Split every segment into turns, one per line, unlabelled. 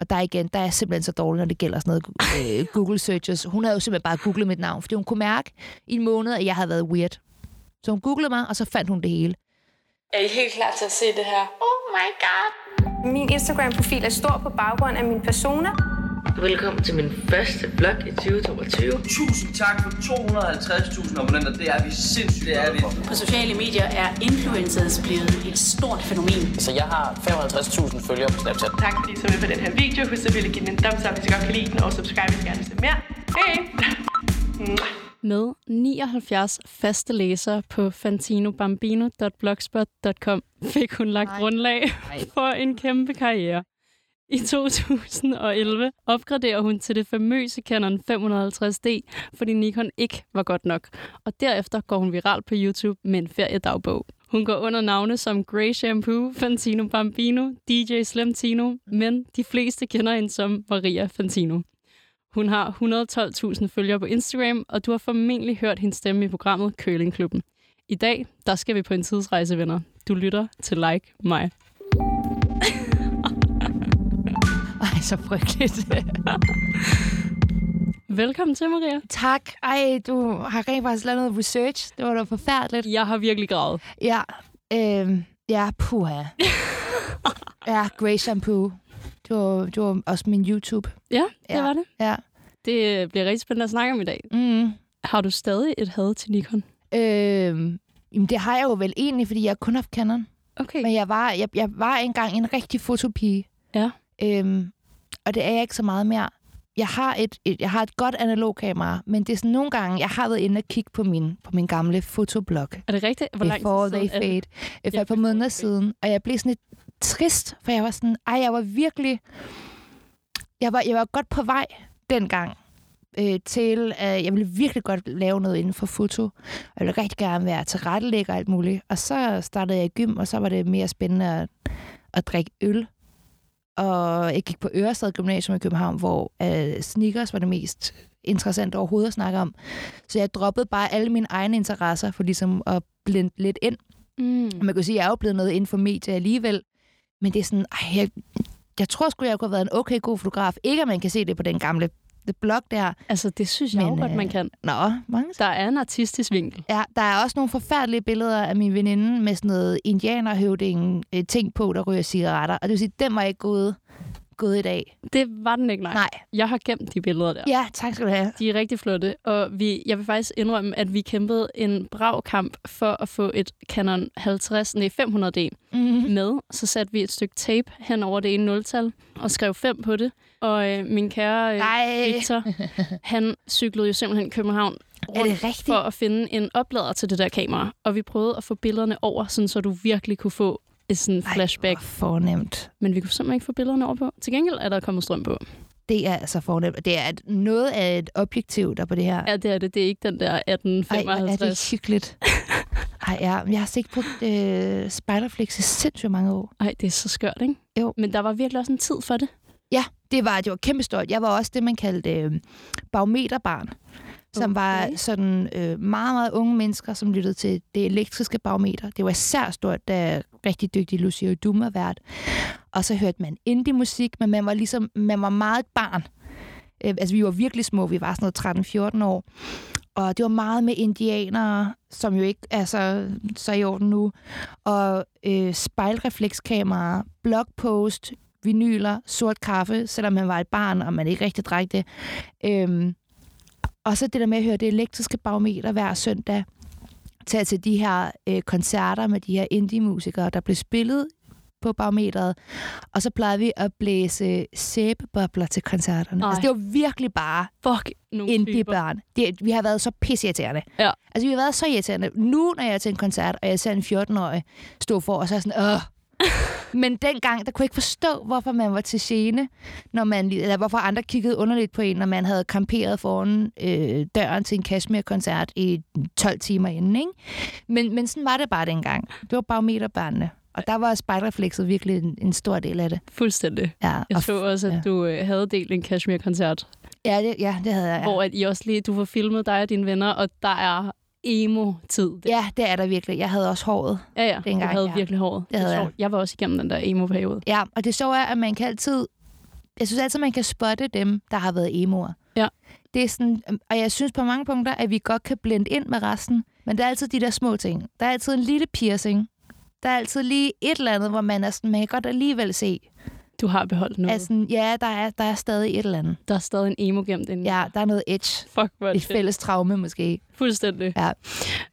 Og der igen, der er jeg simpelthen så dårlig, når det gælder sådan noget øh, Google searches. Hun havde jo simpelthen bare googlet mit navn, fordi hun kunne mærke i en måned, at jeg havde været weird. Så hun googlede mig, og så fandt hun det hele.
Er I helt klar til at se det her? Oh my god.
Min Instagram-profil er stor på baggrund af min persona.
Velkommen til min første vlog i 2022.
Tusind tak for 250.000 abonnenter. Det er vi sindssygt det er vi.
På sociale medier er influencers blevet et stort fænomen.
Så jeg har 55.000 følgere på Snapchat.
Tak fordi I så med på den her video. Husk selvfølgelig at give den en thumbs up, hvis I godt kan lide den, og subscribe, hvis I gerne vil se mere. Hej!
Med 79 faste læsere på fantinobambino.blogspot.com fik hun lagt
Ej.
grundlag
Ej.
for en kæmpe karriere. I 2011 opgraderer hun til det famøse Canon 550D, fordi Nikon ikke var godt nok. Og derefter går hun viral på YouTube med en feriedagbog. Hun går under navne som Grey Shampoo, Fantino Bambino, DJ Slim Tino, men de fleste kender hende som Maria Fantino. Hun har 112.000 følgere på Instagram, og du har formentlig hørt hendes stemme i programmet Curlingklubben. I dag, der skal vi på en tidsrejse, venner. Du lytter til Like Mig.
Ej, så frygteligt.
Velkommen til, Maria.
tak. Ej, du har rent faktisk lavet noget research. Det var da forfærdeligt.
Jeg har virkelig gravet.
Ja, øh, ja, puha. ja, Grey Shampoo. Det var, det var også min YouTube.
Ja, det
Ja.
var det.
Ja.
Det øh, bliver rigtig spændende at snakke om i dag.
Mm.
Har du stadig et had til Nikon?
Øh, jamen, det har jeg jo vel egentlig, fordi jeg kun har haft Canon.
Okay.
Men jeg var, jeg, jeg var engang en rigtig fotopige.
Ja.
Øhm, og det er jeg ikke så meget mere. Jeg har et, et, jeg har et godt analogkamera, men det er sådan nogle gange, jeg har været inde og kigge på min, på min gamle fotoblog.
Er det rigtigt? Hvor lang
Before
tid
they
siden er det?
fade. Øh, For
Ja,
et par
Before
måneder
They Fade.
siden. Og jeg blev sådan lidt trist, for jeg var sådan, ej, jeg var virkelig... Jeg var, jeg var godt på vej dengang øh, til, øh, jeg ville virkelig godt lave noget inden for foto. Og jeg ville rigtig gerne være tilrettelægger og alt muligt. Og så startede jeg i gym, og så var det mere spændende at, at drikke øl. Og jeg gik på Ørestad Gymnasium i København, hvor øh, sneakers var det mest interessant overhovedet at snakke om. Så jeg droppede bare alle mine egne interesser for ligesom at blende lidt ind. Og
Mm.
Man kan jo sige, at jeg er jo blevet noget inden for medier alligevel. Men det er sådan, ej, jeg, jeg tror sgu, jeg kunne have været en okay god fotograf. Ikke at man kan se det på den gamle det blog der.
Altså, det synes jeg
Men,
jo godt,
øh,
man kan.
Nå, mange
Der er en artistisk vinkel.
Ja, der er også nogle forfærdelige billeder af min veninde med sådan noget indianerhøvding øh, ting på, der ryger cigaretter. Og det vil sige, den var ikke gået, gået i dag.
Det var den ikke, nej.
Nej.
Jeg har gemt de billeder der.
Ja, tak skal du have.
De er rigtig flotte, og vi, jeg vil faktisk indrømme, at vi kæmpede en brav kamp for at få et Canon 50, nej 500D
Mm-hmm.
med. Så satte vi et stykke tape hen over det ene nultal og skrev 5 på det. Og øh, min kære øh,
Nej,
Victor, han cyklede jo simpelthen København
er
rundt
det rigtigt?
for at finde en oplader til det der kamera. Og vi prøvede at få billederne over, sådan, så du virkelig kunne få et sådan
Ej,
flashback.
hvor fornemt.
Men vi kunne simpelthen ikke få billederne over på. Til gengæld er der kommet strøm på.
Det er altså fornemt. Og Det er et- noget af et objektiv, der på det her.
Ja, det er det. Det er ikke den der
Ej, hvor er
1855.
det hyggeligt. Ej, ja, men jeg har altså ikke brugt øh, Spiderflix i sindssygt mange år.
Ej, det er så skørt, ikke?
Jo.
Men der var virkelig også en tid for det.
Ja, det var, det var kæmpestort. Jeg var også det, man kaldte øh, barometerbarn, som var
Okay.
sådan øh, meget, meget unge mennesker, som lyttede til det elektriske barometer. Det var især stort, da rigtig dygtig Lucio Dum var vært. Og så hørte man indie-musik, men man var ligesom, man var meget et barn. Øh, altså, vi var virkelig små. Vi var sådan noget 13-14 år. Og det var meget med indianere, som jo ikke er så, så i orden nu. Og øh, spejlreflekskameraer, blogpost, vinyler, sort kaffe, selvom man var et barn, og man ikke rigtig drak det. Øhm, og så det der med at høre det elektriske barometer hver søndag. Tage til de her øh, koncerter med de her indie-musikere, der blev spillet på barometeret. Og så plejede vi at blæse sæbebobler til koncerterne.
Ej.
Altså, det var virkelig bare
Fuck, nogle typer.
indie-børn. Det, vi har været så pisseirriterende.
Ja.
Altså, vi har været så irriterende. Nu, når jeg er til en koncert, og jeg ser en 14-årig stå for, og så er jeg sådan, åh. Men dengang, der kunne jeg ikke forstå, hvorfor man var til gene, når man, eller hvorfor andre kiggede underligt på en, når man havde kamperet foran øh, døren til en Kashmir-koncert i 12 timer inden, ikke? Men, men sådan var det bare dengang. Det var bare meterbørnene. Og der var spejlreflekset virkelig en, en stor del af det.
Fuldstændig.
Ja,
Jeg
og
så også, at
ja.
du øh, havde delt en Kashmir-koncert,
ja, det, ja, det havde jeg.
ja.
Ja.
hvor at I også lige, du får filmet dig og dine venner, og der er emo-tid. der.
ja, det er der virkelig. Jeg havde også håret.
ja, ja.
dengang,
du havde
ja.
virkelig håret.
havde
er sjovt. Jeg var også igennem den der emo-periode.
Ja, og det sjove er, at man kan altid jeg synes altid, man kan spotte dem, der har været emoer.
Ja.
Det er sådan, og jeg synes på mange punkter, at vi godt kan blende ind med resten, men der er altid de der små ting. Der er altid en lille piercing. Der er altid lige et eller andet, hvor man, er sådan, man kan godt alligevel se.
Du har beholdt noget.
At
Altså,
sådan, ja, der er, der er stadig et eller andet.
der er stadig en emo gemt inde.
Ja, der er noget edge.
Fuck, hvor er det
Et
fedt.
fælles traume måske.
Fuldstændig.
Ja.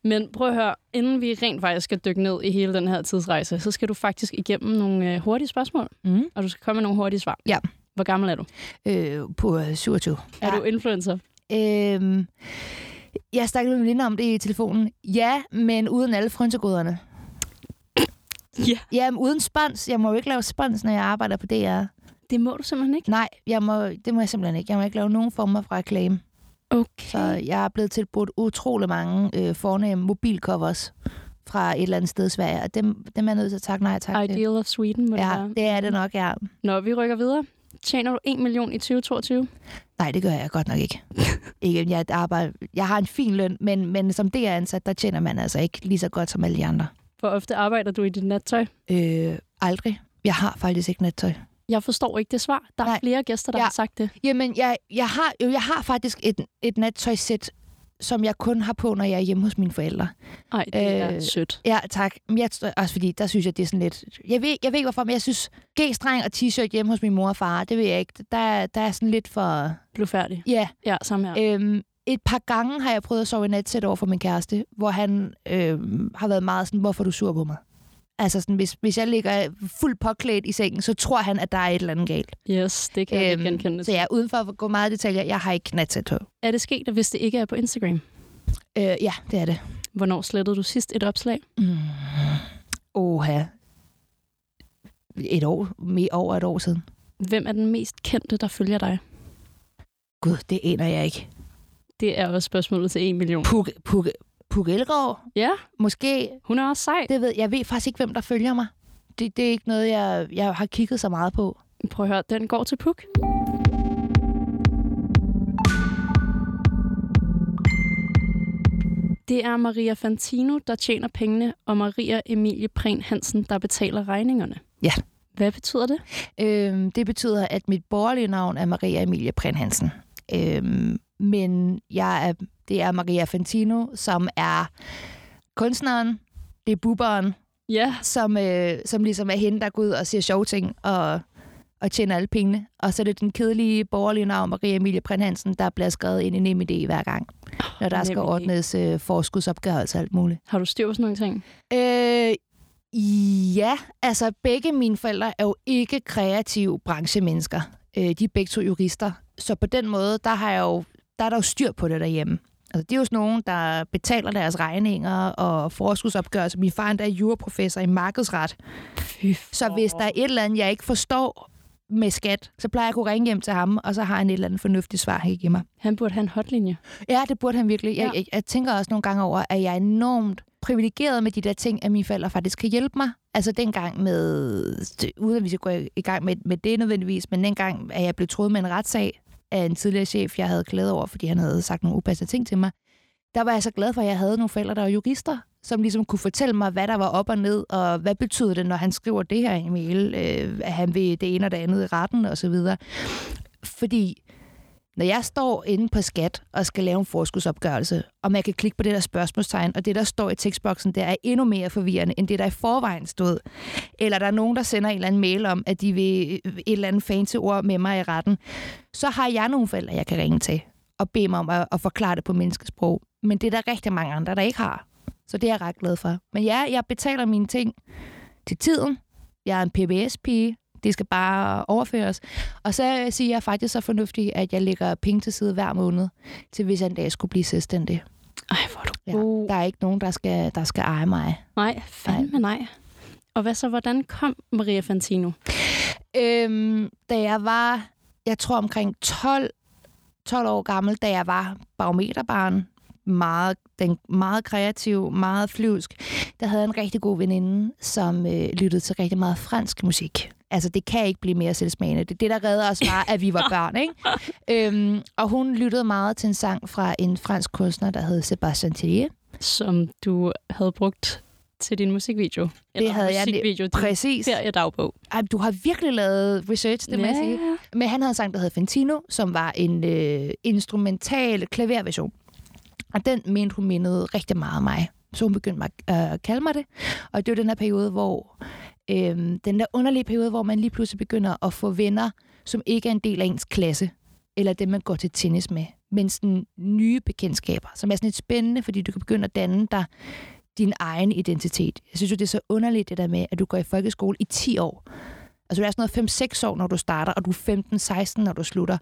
Men prøv at høre, inden vi rent faktisk skal dykke ned i hele den her tidsrejse, så skal du faktisk igennem nogle øh, hurtige spørgsmål,
Mm.
og du skal komme med nogle hurtige svar.
Ja.
Hvor gammel er du?
Øh, på øh, 27.
Ja. Er du influencer?
Øhm, jeg snakkede med min veninde om det i telefonen. Ja, men uden alle frynsegoderne.
Ja.
Jamen, uden spons. Jeg må jo ikke lave spons, når jeg arbejder på DR.
Det må du simpelthen ikke.
Nej, jeg må, det må jeg simpelthen ikke. Jeg må ikke lave nogen former for reklame.
Okay.
Så jeg er blevet tilbudt utrolig mange øh, fornemme mobilcovers fra et eller andet sted i Sverige, og dem, dem er jeg nødt til at takke nej tak til.
Ideal of Sweden, må det
Ja,
være.
det er det nok, ja.
Nå, vi rykker videre. Tjener du 1 million i 2022?
Nej, det gør jeg godt nok ikke. ikke jeg, arbejder, jeg har en fin løn, men, men som det er ansat, der tjener man altså ikke lige så godt som alle de andre.
Hvor ofte arbejder du i dit nattøj?
Øh, aldrig. Jeg har faktisk ikke nattøj.
Jeg forstår ikke det svar. Der er
Nej.
flere gæster, der
Ja.
har sagt det.
Jamen, jeg, jeg, har, jo, jeg har faktisk et, et nattøjsæt, som jeg kun har på, når jeg er hjemme hos mine forældre.
Nej, det øh, er
Øh,
sødt.
Ja, tak. Men jeg, tror- også fordi, der synes jeg, det er sådan lidt... Jeg ved, jeg ved ikke, hvorfor, men jeg synes, G-streng og t-shirt hjemme hos min mor og far, det ved jeg ikke. Der, der er sådan lidt for...
Blev færdig.
Ja,
Ja, samme her.
ja. Øhm, et par gange har jeg prøvet at sove i natsæt over for min kæreste, hvor han øhm, har været meget sådan, hvorfor er du sur på mig? Altså sådan, hvis, hvis jeg ligger fuldt påklædt i sengen, så tror han, at der er et eller andet galt.
Yes, det kan øhm, jeg ikke genkende.
så ja, uden for at gå meget i detaljer, jeg har ikke natsæt på.
Er det sket, at hvis det ikke er på Instagram?
Øh, ja, det er det.
Hvornår slettede du sidst et opslag?
Mm. Oha. Et år, mere over et år siden.
Hvem er den mest kendte, der følger dig?
Gud, det aner jeg ikke.
Det er også spørgsmålet til 1 million.
Puk, Puk, Puk Elgård,
Ja,
måske.
hun er også sej.
Det ved, jeg ved faktisk ikke, hvem der følger mig. Det, det er ikke noget, jeg, jeg har kigget så meget på.
Prøv at høre, den går til Puk. Det er Maria Fantino, der tjener pengene, og Maria Emilie Prehn Hansen, der betaler regningerne.
Ja.
Hvad betyder det?
Øhm, det betyder, at mit borgerlige navn er Maria Emilie Prehn Hansen. Øhm, men jeg er, det er Maria Fantino, som er kunstneren, det er bubberen,
Ja,
som, øh, som ligesom er hende, der går ud og siger sjove ting og, og tjener alle pengene. Og så er det den kedelige borgerlige navn, Maria Emilie Prehn Hansen, der bliver skrevet ind i NemID hver gang, når der skal
NemID.
ordnes øh, forskudsopgørelse og alt muligt.
har du styr på sådan nogle ting?
Øh, ja, altså begge mine forældre er jo ikke kreative branchemennesker. Øh, de er begge to jurister. Så på den måde, der, har jeg jo, der er der jo styr på det derhjemme. Altså, det er jo sådan nogen, der betaler deres regninger og forskudsopgørelser. Min far endda er juraprofessor i markedsret.
Fy
Så hvis der er et eller andet, jeg ikke forstår med skat, så plejer jeg at kunne ringe hjem til ham, og så har han et eller andet fornuftigt svar, han kan give mig.
Han burde have en hotlinje.
Ja, det burde han virkelig. Jeg,
Ja.
ja. jeg, jeg tænker også nogle gange over, at jeg er enormt privilegeret med de der ting, at mine forældre faktisk kan hjælpe mig. Altså dengang med, uden at vi skal gå i gang med, med det nødvendigvis, men dengang, at jeg blev troet med en retssag af en tidligere chef, jeg havde klaget over, fordi han havde sagt nogle upassende ting til mig, der var jeg så glad for, at jeg havde nogle forældre, der var jurister, som ligesom kunne fortælle mig, hvad der var op og ned, og hvad betyder det, når han skriver det her i en mail, øh, at han vil det ene og det andet i retten og så videre. Fordi når jeg står inde på skat og skal lave en forskudsopgørelse, og man kan klikke på det der spørgsmålstegn, og det, der står i tekstboksen, der er endnu mere forvirrende, end det, der i forvejen stod. Eller der er nogen, der sender en eller anden mail om, at de vil øh, et eller andet fancy ord med mig i retten. Så har jeg nogle forældre, jeg kan ringe til og bede mig om at, at forklare det på menneskesprog. Men det er der rigtig mange andre, der ikke har. Så det er jeg ret glad for. Men ja, jeg betaler mine ting til tiden. Jeg er en PBS-pige. Det skal bare overføres. Og så siger jeg faktisk så fornuftigt, at jeg lægger penge til side hver måned, til hvis jeg en dag skulle blive selvstændig.
Ej, hvor er du
Ja.
god.
Der er ikke nogen, der skal, der skal eje mig.
Nej, fandme nej. Og hvad så, hvordan kom Maria Fantino?
Øhm, da jeg var, jeg tror omkring 12, 12 år gammel, da jeg var barometerbarn, meget, den, meget kreativ, meget flyvsk, der havde jeg en rigtig god veninde, som øh, lyttede til rigtig meget fransk musik. Altså, det kan ikke blive mere selvsmagende. Det, det der redder os var, at vi var børn, ikke? Øhm, og hun lyttede meget til en sang fra en fransk kunstner, der hed Sebastian Tellier.
Som du havde brugt til din musikvideo. Eller
havde jeg ne-
musikvideo, din
Præcis.
feriedagbog.
Ej, du har virkelig lavet research, det må jeg sige. Men han havde en sang, der hed Fentino, som var en øh, instrumental klaverversion. Og den mente hun mindede rigtig meget om mig. Så hun begyndte mig, øh, at kalde mig det. Og det var den her periode, hvor... Øh, den der underlige periode, hvor man lige pludselig begynder at få venner, som ikke er en del af ens klasse. Eller dem, man går til tennis med. Men sådan nye bekendtskaber, som er sådan lidt spændende, fordi du kan begynde at danne dig din egen identitet. Jeg synes jo, det er så underligt det der med, at du går i folkeskole i 10 år, Altså, du er sådan noget 5-6 år, når du starter, og du er 15-16, når du slutter.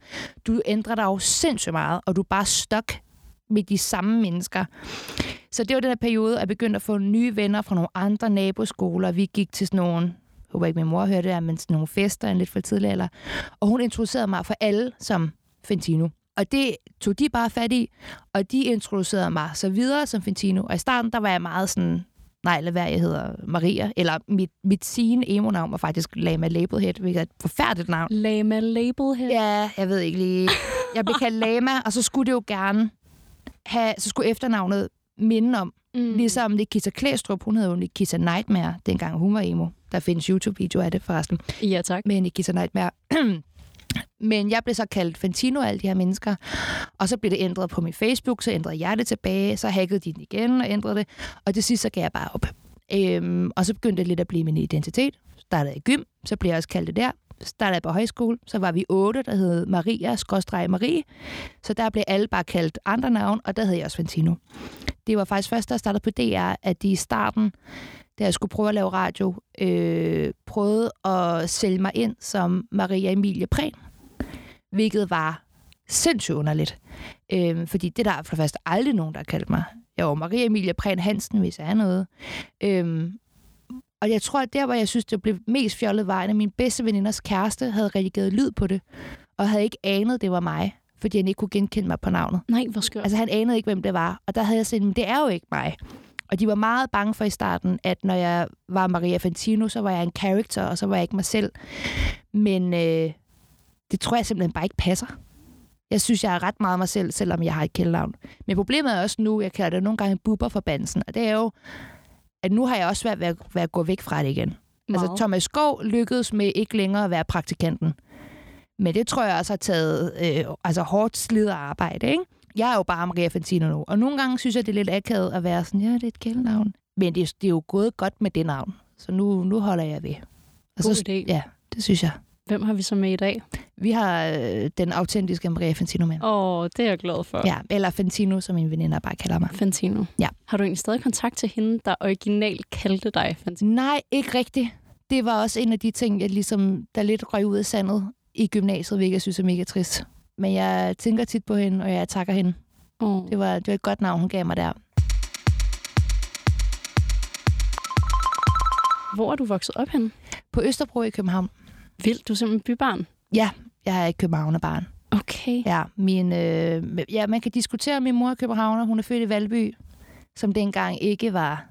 Du ændrer dig jo sindssygt meget, og du er bare stok med de samme mennesker. Så det var den her periode, at jeg begyndte at få nye venner fra nogle andre naboskoler. Vi gik til sådan nogle, jeg håber ikke min mor hørte det her, men sådan nogle fester en lidt for tidlig alder. Og hun introducerede mig for alle som Fentino. Og det tog de bare fat i, og de introducerede mig så videre som Fentino. Og i starten, der var jeg meget sådan, nej, lad være, jeg hedder Maria, eller mit, mit sigende emo-navn var faktisk Lama Labelhead, hvilket er et forfærdeligt navn.
Lama Label her.
Ja, jeg ved ikke lige. Jeg blev kaldt Lama, og så skulle det jo gerne have, så skulle efternavnet minde om, mm. ligesom Nikita Klæstrup, hun hed jo Nikita Nightmare, dengang hun var emo. Der findes YouTube-videoer af det forresten
Ja, tak.
med Nikita Nightmare. Men jeg blev så kaldt Fantino af alle de her mennesker, og så blev det ændret på min Facebook, så ændrede jeg det tilbage, så hackede de den igen og ændrede det, og til sidst så gav jeg bare op. Øhm, og så begyndte det lidt at blive min identitet. Startede i gym, så blev jeg også kaldt det der. Startede jeg på højskole, så var vi otte, der hed Maria, skorstrej Marie. Så der blev alle bare kaldt andre navn, og der hed jeg også Fantino. Det var faktisk først, da jeg startede på DR, at de i starten da jeg skulle prøve at lave radio, øh, prøvede at sælge mig ind som Maria Emilie Prehn, hvilket var sindssygt underligt. Øh, fordi det der er for først aldrig nogen, der har kaldt mig. Jeg var Maria Emilie Prehn Hansen, hvis jeg er noget. Øh, og jeg tror, at der, hvor jeg synes, det blev mest fjollet, var, at min bedste veninders kæreste havde redigeret lyd på det, og havde ikke anet, det var mig, fordi han ikke kunne genkende mig på navnet.
Nej, hvor skørt.
Altså, han anede ikke, hvem det var. Og der havde jeg sagt, men det er jo ikke mig. Og de var meget bange for i starten, at når jeg var Maria Fantino, så var jeg en karakter, og så var jeg ikke mig selv. Men øh, det tror jeg simpelthen bare ikke passer. Jeg synes, jeg er ret meget mig selv, selvom jeg har et kældnavn. Men problemet er også nu, jeg kalder det nogle gange buberforbandelsen, og det er jo, at nu har jeg også svært ved at, ved at gå væk fra det igen. Meget. Altså,
Meget.
Thomas Skov lykkedes med ikke længere at være praktikanten. Men det tror jeg også har taget øh, altså hårdt slid og arbejde, ikke? Jeg er jo bare Maria Fantino nu, og nogle gange synes jeg, det er lidt akavet at være sådan, ja, det er et kældnavn. Men det, det er jo gået godt med det navn, så nu, nu holder jeg ved. Og
God
så,
idé.
Ja, det synes jeg.
Hvem har vi så med i dag?
Vi har øh, den autentiske Maria Fantino med.
Åh, oh, det er jeg glad for.
Ja, eller Fantino, som mine veninder bare kalder mig.
Fantino.
Ja.
Har du egentlig stadig kontakt til hende, der originalt kaldte dig Fantino?
Nej, ikke rigtigt. Det var også en af de ting, jeg ligesom, der lidt røg ud af sandet i gymnasiet, hvilket jeg synes er mega trist. Men jeg tænker tit på hende, og jeg takker hende.
Oh.
Det var, det var et godt navn, hun gav mig der.
Hvor er du vokset op henne?
På Østerbro i København.
Vildt, du er simpelthen bybarn.
Ja, jeg er et københavnerbarn.
Okay.
Ja, min, øh, ja, man kan diskutere, om min mor er københavner. Hun er født i Valby, som dengang ikke var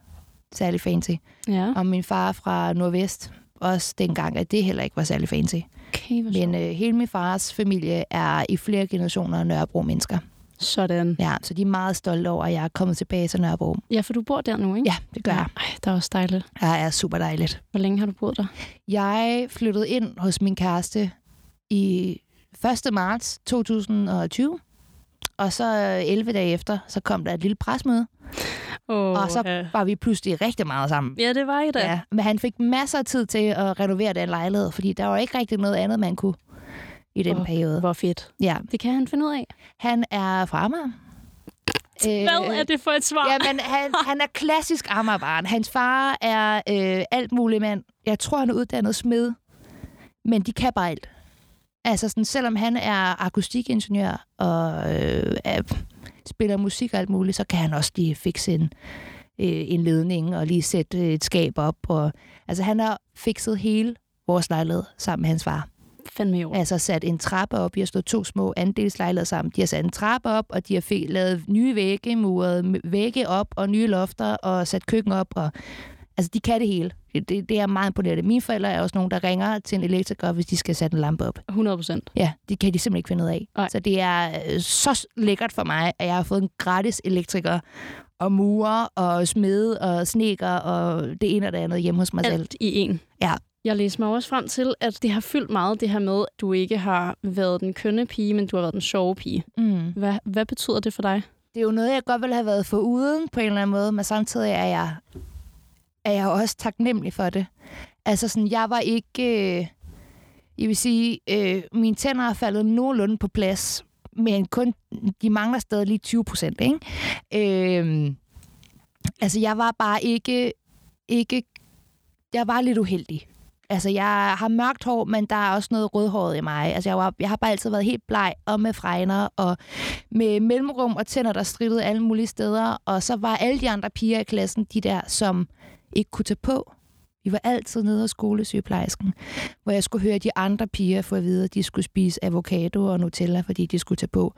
særlig fancy.
Ja,
Og min far er fra Nordvest, også dengang, at det heller ikke var særlig fancy.
okay. Hvor
Men øh, hele min fars familie er i flere generationer Nørrebro-mennesker.
Sådan.
Ja, så de er meget stolte over, at jeg er kommet tilbage til Nørrebro.
Ja, for du bor der nu, ikke?
Ja, det gør jeg.
Ej, det er også dejligt.
Det er super dejligt.
Hvor længe har du boet der?
Jeg flyttede ind hos min kæreste i 1. marts 2020. Og så øh, 11 dage efter, så kom der et lille presmøde,
Oh,
og så var vi pludselig rigtig meget sammen.
Ja, det var I da.
Ja, men han fik masser af tid til at renovere den lejlighed, fordi der var ikke rigtig noget andet, man kunne i den
Åh,
oh, periode.
Hvor fedt.
Ja,
Det kan han finde ud af.
han er fra Amager.
Hvad er det for et svar?
Øh, Jamen, han, han er klassisk Amagerbaren. Hans far er øh, alt muligt mand. Jeg tror, han er uddannet smed, men de kan bare alt. Altså, sådan, selvom han er akustikingeniør og øh, er, spiller musik og alt muligt, så kan han også lige fikse en, øh, en ledning og lige sætte øh, et skab op. Og, altså, han har fikset hele vores lejlighed sammen med hans far
Fandme jo.
altså sat en trappe op. De har slået to små andelslejligheder sammen. De har sat en trappe op, og de har fe- lavet nye vægge, muret m- vægge op og nye lofter, og sat køkken op. Og, Altså, de kan det hele. Det, det, det er meget imponerende. Mine forældre er også nogen, der ringer til en elektriker, hvis de skal sætte en lampe op.
100 procent.
Ja, det kan de simpelthen ikke finde ud af.
Nej.
Så det er øh, så lækkert for mig, at jeg har fået en gratis elektriker og murer og smede og sneker og det ene og det andet hjemme hos mig selv.
Alt i en.
Altså, Ja.
Jeg læste mig også frem til, at det har fyldt meget det her med, at du ikke har været den kønne pige, men du har været den sjove pige.
Mm.
Hvad, hvad betyder det for dig?
Det er jo noget, jeg godt ville have været foruden på en eller anden måde, men samtidig er jeg, er jeg også taknemmelig for det. Altså sådan, jeg var ikke... Øh, jeg vil sige, øh, mine tænder er faldet nogenlunde på plads, men kun, de mangler stadig lige 20 procent, ikke? Øh, altså, jeg var bare ikke, ikke... Jeg var lidt uheldig. Altså, jeg har mørkt hår, men der er også noget rødhåret i mig. Altså, jeg, var, jeg har bare altid været helt bleg og med fregner og med mellemrum og tænder, der strittede alle mulige steder. Og så var alle de andre piger i klassen de der, som ikke kunne tage på. Vi var altid nede hos skolesygeplejersken, hvor jeg skulle høre de andre piger få at vide, at de skulle spise avocado og Nutella, fordi de skulle tage på.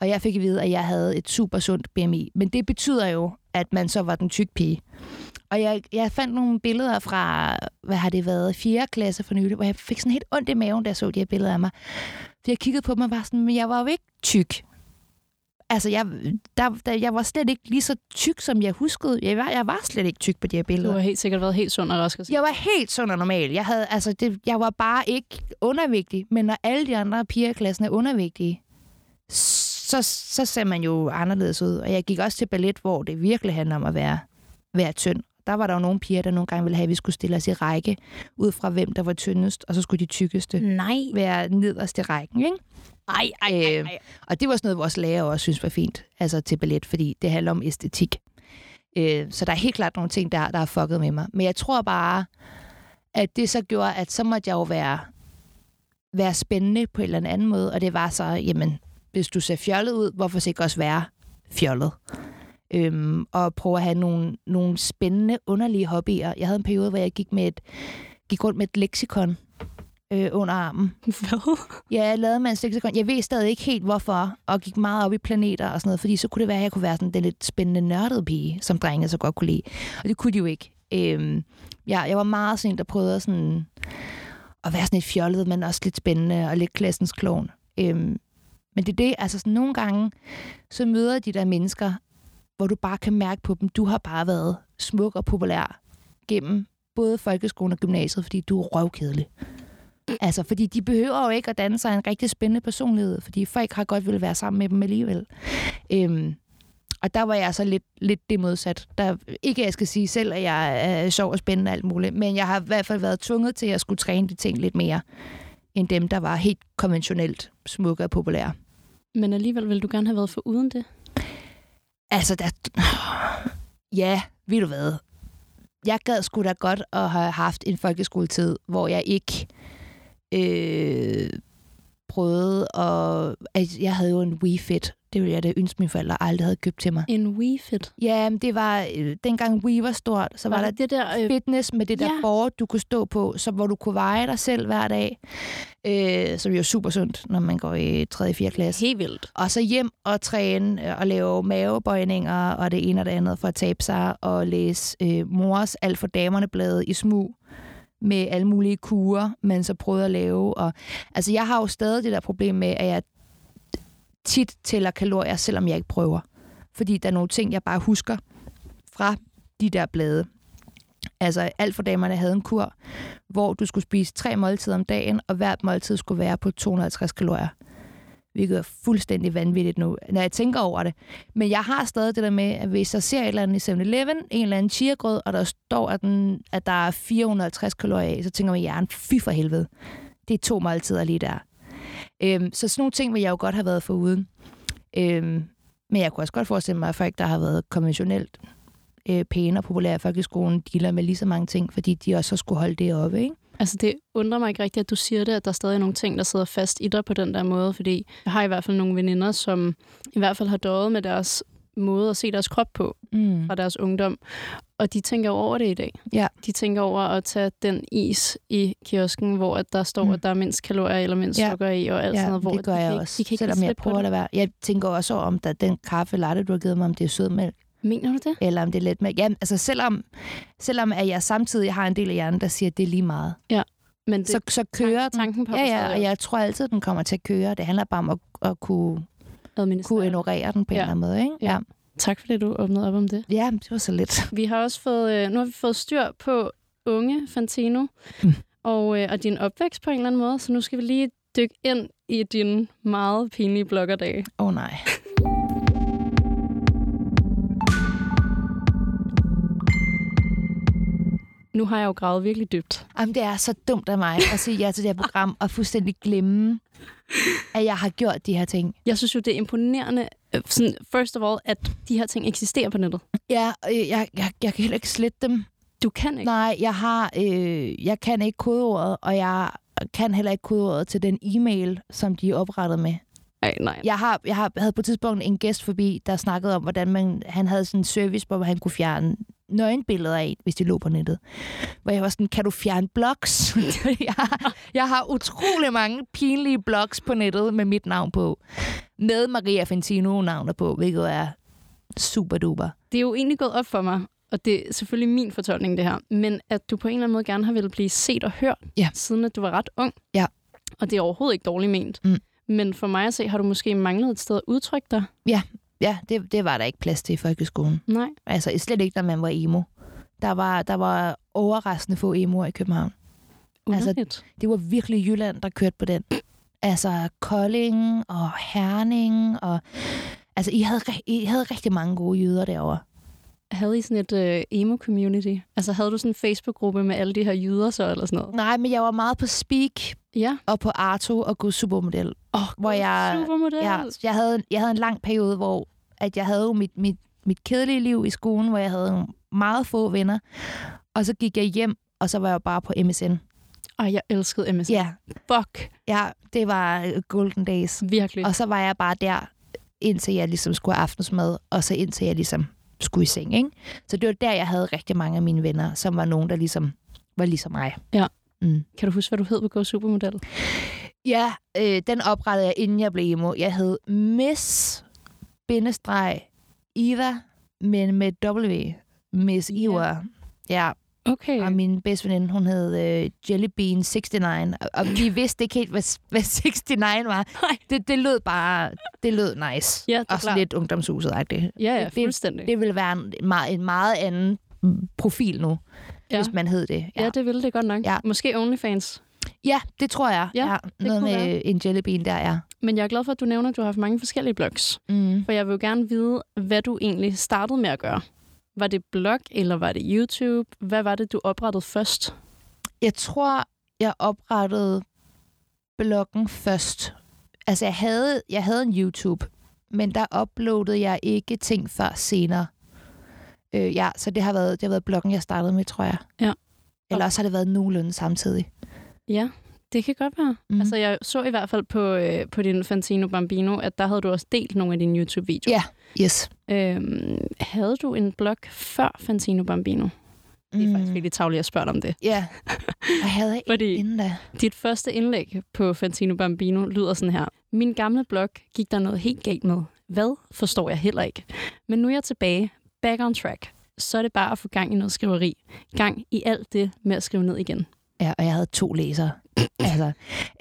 Og jeg fik at vide, at jeg havde et super sundt BMI. Men det betyder jo, at man så var den tyk pige. Og jeg, jeg fandt nogle billeder fra, hvad har det været, 4. klasse for nylig, hvor jeg fik sådan helt ondt i maven, da jeg så de her billeder af mig. For jeg kiggede på dem og var sådan, men jeg var jo ikke tyk. Altså, jeg, der, der, jeg var slet ikke lige så tyk, som jeg huskede. Jeg var, jeg var slet ikke tyk på de her
Du
billeder.
har helt sikkert været helt sund og rask. og sind.
Jeg var helt sund og normal. Jeg, havde, altså, det, jeg var bare ikke undervægtig, men når alle de andre piger i klassen er undervægtige, så, så ser man jo anderledes ud. Og jeg gik også til ballet, hvor det virkelig handler om at være, være tynd. Der var der jo nogle piger, der nogle gange ville have, at vi skulle stille os i række, ud fra hvem der var tyndest, og så skulle de tykkeste
Nej.
være nederst i rækken, ikke? Øh,
Ej, ej, ej, ej.
Og det var sådan noget, vores lærer også synes var fint, altså til ballet, fordi det handler om æstetik. Øh, så der er helt klart nogle ting, der, der har fucket med mig. Men jeg tror bare, at det så gjorde, at så måtte jeg jo være, være spændende på en eller anden måde, og det var så, jamen, hvis du ser fjollet ud, hvorfor så ikke også være fjollet? Øhm, og prøve at have nogle, nogle spændende, underlige hobbyer. Jeg havde en periode, hvor jeg gik, med et, gik rundt med et leksikon øh, under armen,
Hvad?
Ja, jeg lavede mands leksikon. Jeg ved stadig ikke helt, hvorfor, og gik meget op i planeter og sådan noget, fordi så kunne det være, at jeg kunne være sådan den lidt spændende nørdede pige, som drenge så godt kunne lide. Og det kunne de jo ikke. Øhm, jeg, jeg var meget sådan en, der prøvede at sådan at være sådan lidt fjollet, men også lidt spændende og lidt klassens klovn. Øhm, men det er det, altså sådan nogle gange, så møder de der mennesker, hvor du bare kan mærke på dem, du har bare været smuk og populær gennem både folkeskolen og gymnasiet, fordi du er røvkedelig. Altså, fordi de behøver jo ikke at danne sig en rigtig spændende personlighed, fordi folk har godt vil være sammen med dem alligevel. Øhm, og der var jeg så lidt, lidt det modsat. Der, ikke at jeg skal sige selv, at jeg er sjov og spændende og alt muligt, men jeg har i hvert fald været tvunget til, at jeg skulle træne de ting lidt mere, end dem, der var helt konventionelt smukke og populære.
Men alligevel ville du gerne have været for uden det.
Altså, der... Ja, ved du hvad? Jeg gad sgu da godt at have haft en folkeskoletid, hvor jeg ikke øh, prøvede at... Altså, jeg havde jo en Wii Fit. Det ville jeg da ønske, mine forældre aldrig havde købt til mig.
En WeFit.
Ja, men det var... Øh, dengang Wii var stort, så var,
Var
var der
det det der... Øh,
fitness med det der
ja.
ja. board, du kunne stå på, så hvor du kunne veje dig selv hver dag. Øh, som jo er super sundt, når man går i 3. og 4. klasse
Altså, helt vildt.
og så hjem og træne øh, og lave mavebøjninger og det ene og det andet for at tabe sig og læse øh, mors alt for damerne blade i smug med alle mulige kurer, man så prøvede at lave. Og, altså, jeg har jo stadig det der problem med, at jeg tit tæller kalorier, selvom jeg ikke prøver. Fordi der er nogle ting, jeg bare husker fra de der blade. Altså, alt for damerne havde en kur, hvor du skulle spise tre måltider om dagen, og hvert måltid skulle være på 250 kalorier hvilket er fuldstændig vanvittigt nu, når jeg tænker over det. Men jeg har stadig det der med, at hvis jeg ser et eller andet i 7-Eleven, en eller anden chiagrød, og der står, at, den, at der er 450 kalorier af, så tænker man i hjernen, fy for helvede. Det er to måltider lige der. Øhm, så sådan nogle ting vil jeg jo godt have været foruden. Øhm, men jeg kunne også godt forestille mig, at folk, der har været konventionelt øh, pæne og populære i folkeskolen, dealer med lige så mange ting, fordi de også har skulle holde det oppe, ikke?
Altså, det undrer mig ikke rigtigt, at du siger det, at der er stadig nogle ting, der sidder fast i dig på den der måde, fordi jeg har i hvert fald nogle veninder, som i hvert fald har døjet med deres måde at se deres krop på
Mm.
fra deres ungdom. Og de tænker jo over det i dag.
Ja.
De tænker over at tage den is i kiosken, hvor at der står,
Mm.
at der er mindst kalorier eller mindst
Ja.
sukker i, og alt sådan noget. Hvor
det gør
de
jeg
kan ikke-
også,
de kan ikke
selvom
give
jeg
slip på
prøver at
det.
lade være. Jeg tænker også over, om der, den kaffe latte, du har givet mig, om det er sødmælk.
Mener du det?
eller om det er lidt med... Ja, altså selvom, selvom at jeg samtidig har en del af hjernen, der siger, at det er lige meget,
Men
det,
det,
så, så kører den.
tanken på
Ja, ja, og jeg tror altid, den kommer til at køre. Det handler bare om at, at kunne, kunne ignorere den på ja. en eller
Ja.
anden måde, ikke?
Ja.
Ja,
Tak fordi du åbnede op om det.
ja det var så lidt.
Vi har også fået, øh, nu har vi fået styr på unge Fantino
Mm.
og, øh, og din opvækst på en eller anden måde, så nu skal vi lige dykke ind i dine meget pinlige bloggerdage.
Åh oh, nej.
Nu har jeg jo gravet virkelig dybt.
Jamen, det er så dumt af mig at sige ja til det her program og fuldstændig glemme, at jeg har gjort de her ting.
Jeg synes jo, det er imponerende, øh, sådan, first of all, at de her ting eksisterer på nettet.
Ja, og jeg, jeg, jeg kan heller ikke slette dem.
Du kan ikke.
Nej, jeg har, øh, jeg kan ikke kodeordet, og jeg kan heller ikke kodeordet til den e-mail, som de er oprettet med.
Nej, nej.
Jeg, har, jeg har, havde på et tidspunkt en gæst forbi, der snakkede om, hvordan man, han havde sådan en service, hvor han kunne fjerne nøgenbilleder af en, hvis de lå på nettet. Hvor jeg var sådan, kan du fjerne blogs? jeg, har, jeg har utrolig mange pinlige blogs på nettet med mit navn på. Med Maria Fentino navnet på, hvilket er super duper.
Det er jo egentlig gået op for mig, og det er selvfølgelig min fortolkning, det her, men at du på en eller anden måde gerne har ville blive set og hørt,
Ja.
siden at du var ret ung.
Ja.
Og det er overhovedet ikke dårligt ment.
Mm.
Men for mig at se, har du måske manglet et sted at udtrykke dig?
Ja, det, det var der ikke plads til i folkeskolen.
Nej.
Altså slet ikke, da man var emo. Der var, der var overraskende få emoer i København. Altså,
Underligt.
det var virkelig Jylland, der kørte på den. Altså Kolding og Herning og... Altså, I havde, ri- I havde rigtig mange gode jyder derovre.
Havde I sådan et øh, emo-community? Altså havde du sådan en Facebook-gruppe med alle de her jyder så, eller sådan noget?
Nej, men jeg var meget på Speak
Ja.
og på Arto og Gud Supermodel.
Oh,
Hvor jeg,
Supermodel.
jeg, jeg, havde, jeg havde en lang periode, hvor at jeg havde jo mit, mit, mit kedelige liv i skolen, hvor jeg havde nogle meget få venner. Og så gik jeg hjem, og så var jeg jo bare på MSN.
Ej, jeg elskede MSN.
Ja,
Fuck.
ja det var øh, golden days.
Virkelig.
Og så var jeg bare der, indtil jeg ligesom skulle have aftensmad, og så indtil jeg ligesom skulle i seng. Ikke? Så det var der, jeg havde rigtig mange af mine venner, som var nogen, der ligesom var ligesom mig.
Ja.
Mm.
Kan du huske, hvad du hed på Go Supermodel?
Ja, øh, den oprettede jeg, inden jeg blev emo. Jeg hed Miss bindestreg Eva, men med W. Miss
Ja.
Eva. Yeah. Ja,
Okay.
og min bedste veninde, hun hed øh, Jellybean69, og, og vi vidste ikke helt, hvad, s- hvad 69 var.
Nej.
Det, det lød bare, det lød nice.
Ja, det er
og sådan
klart.
lidt ungdomshuset-agtigt.
ja, ja,
det- det-
fuldstændig.
Det ville være en meget, en meget anden mm, profil nu,
Ja.
ja. hvis man hed det.
ja.
Ja,
ja,
det,
det ville det godt nok.
Ja.
Måske OnlyFans.
ja, det tror jeg.
Ja,
Noget
kunne
med
være.
en jellybean der, ja.
Men jeg er glad for, at du nævner, at du har haft mange forskellige blogs.
Mm.
For jeg vil jo gerne vide, hvad du egentlig startede med at gøre. Var det blog, eller var det YouTube? Hvad var det, du oprettede først?
Jeg tror, jeg oprettede bloggen først. Altså, jeg havde, jeg havde en YouTube, men der uploadede jeg ikke ting før senere. Øh, ja, så det har, været, det har været bloggen, jeg startede med, tror jeg.
Ja.
Eller også har det været nogenlunde samtidig.
Ja, det kan godt være. Mm.
Mhm.
Altså, jeg så i hvert fald på, øh, på din Fantino Bambino, at der havde du også delt nogle af dine YouTube-videoer.
Yes.
Ja. Øhm, havde du en blog før Fantino Bambino?
Mhm.
Det er mm. faktisk virkelig tavligt at spørge dig om det.
Ja. Og havde jeg
Fordi-
ikke inden da.
Dit første indlæg på Fantino Bambino lyder sådan her. Min gamle blog gik der noget helt galt med. Hvad forstår jeg heller ikke. Men nu er jeg tilbage. Back on track. Så er det bare at få gang i noget skriveri. Gang i alt det med at skrive ned igen.
Ja, og jeg havde to læsere. altså,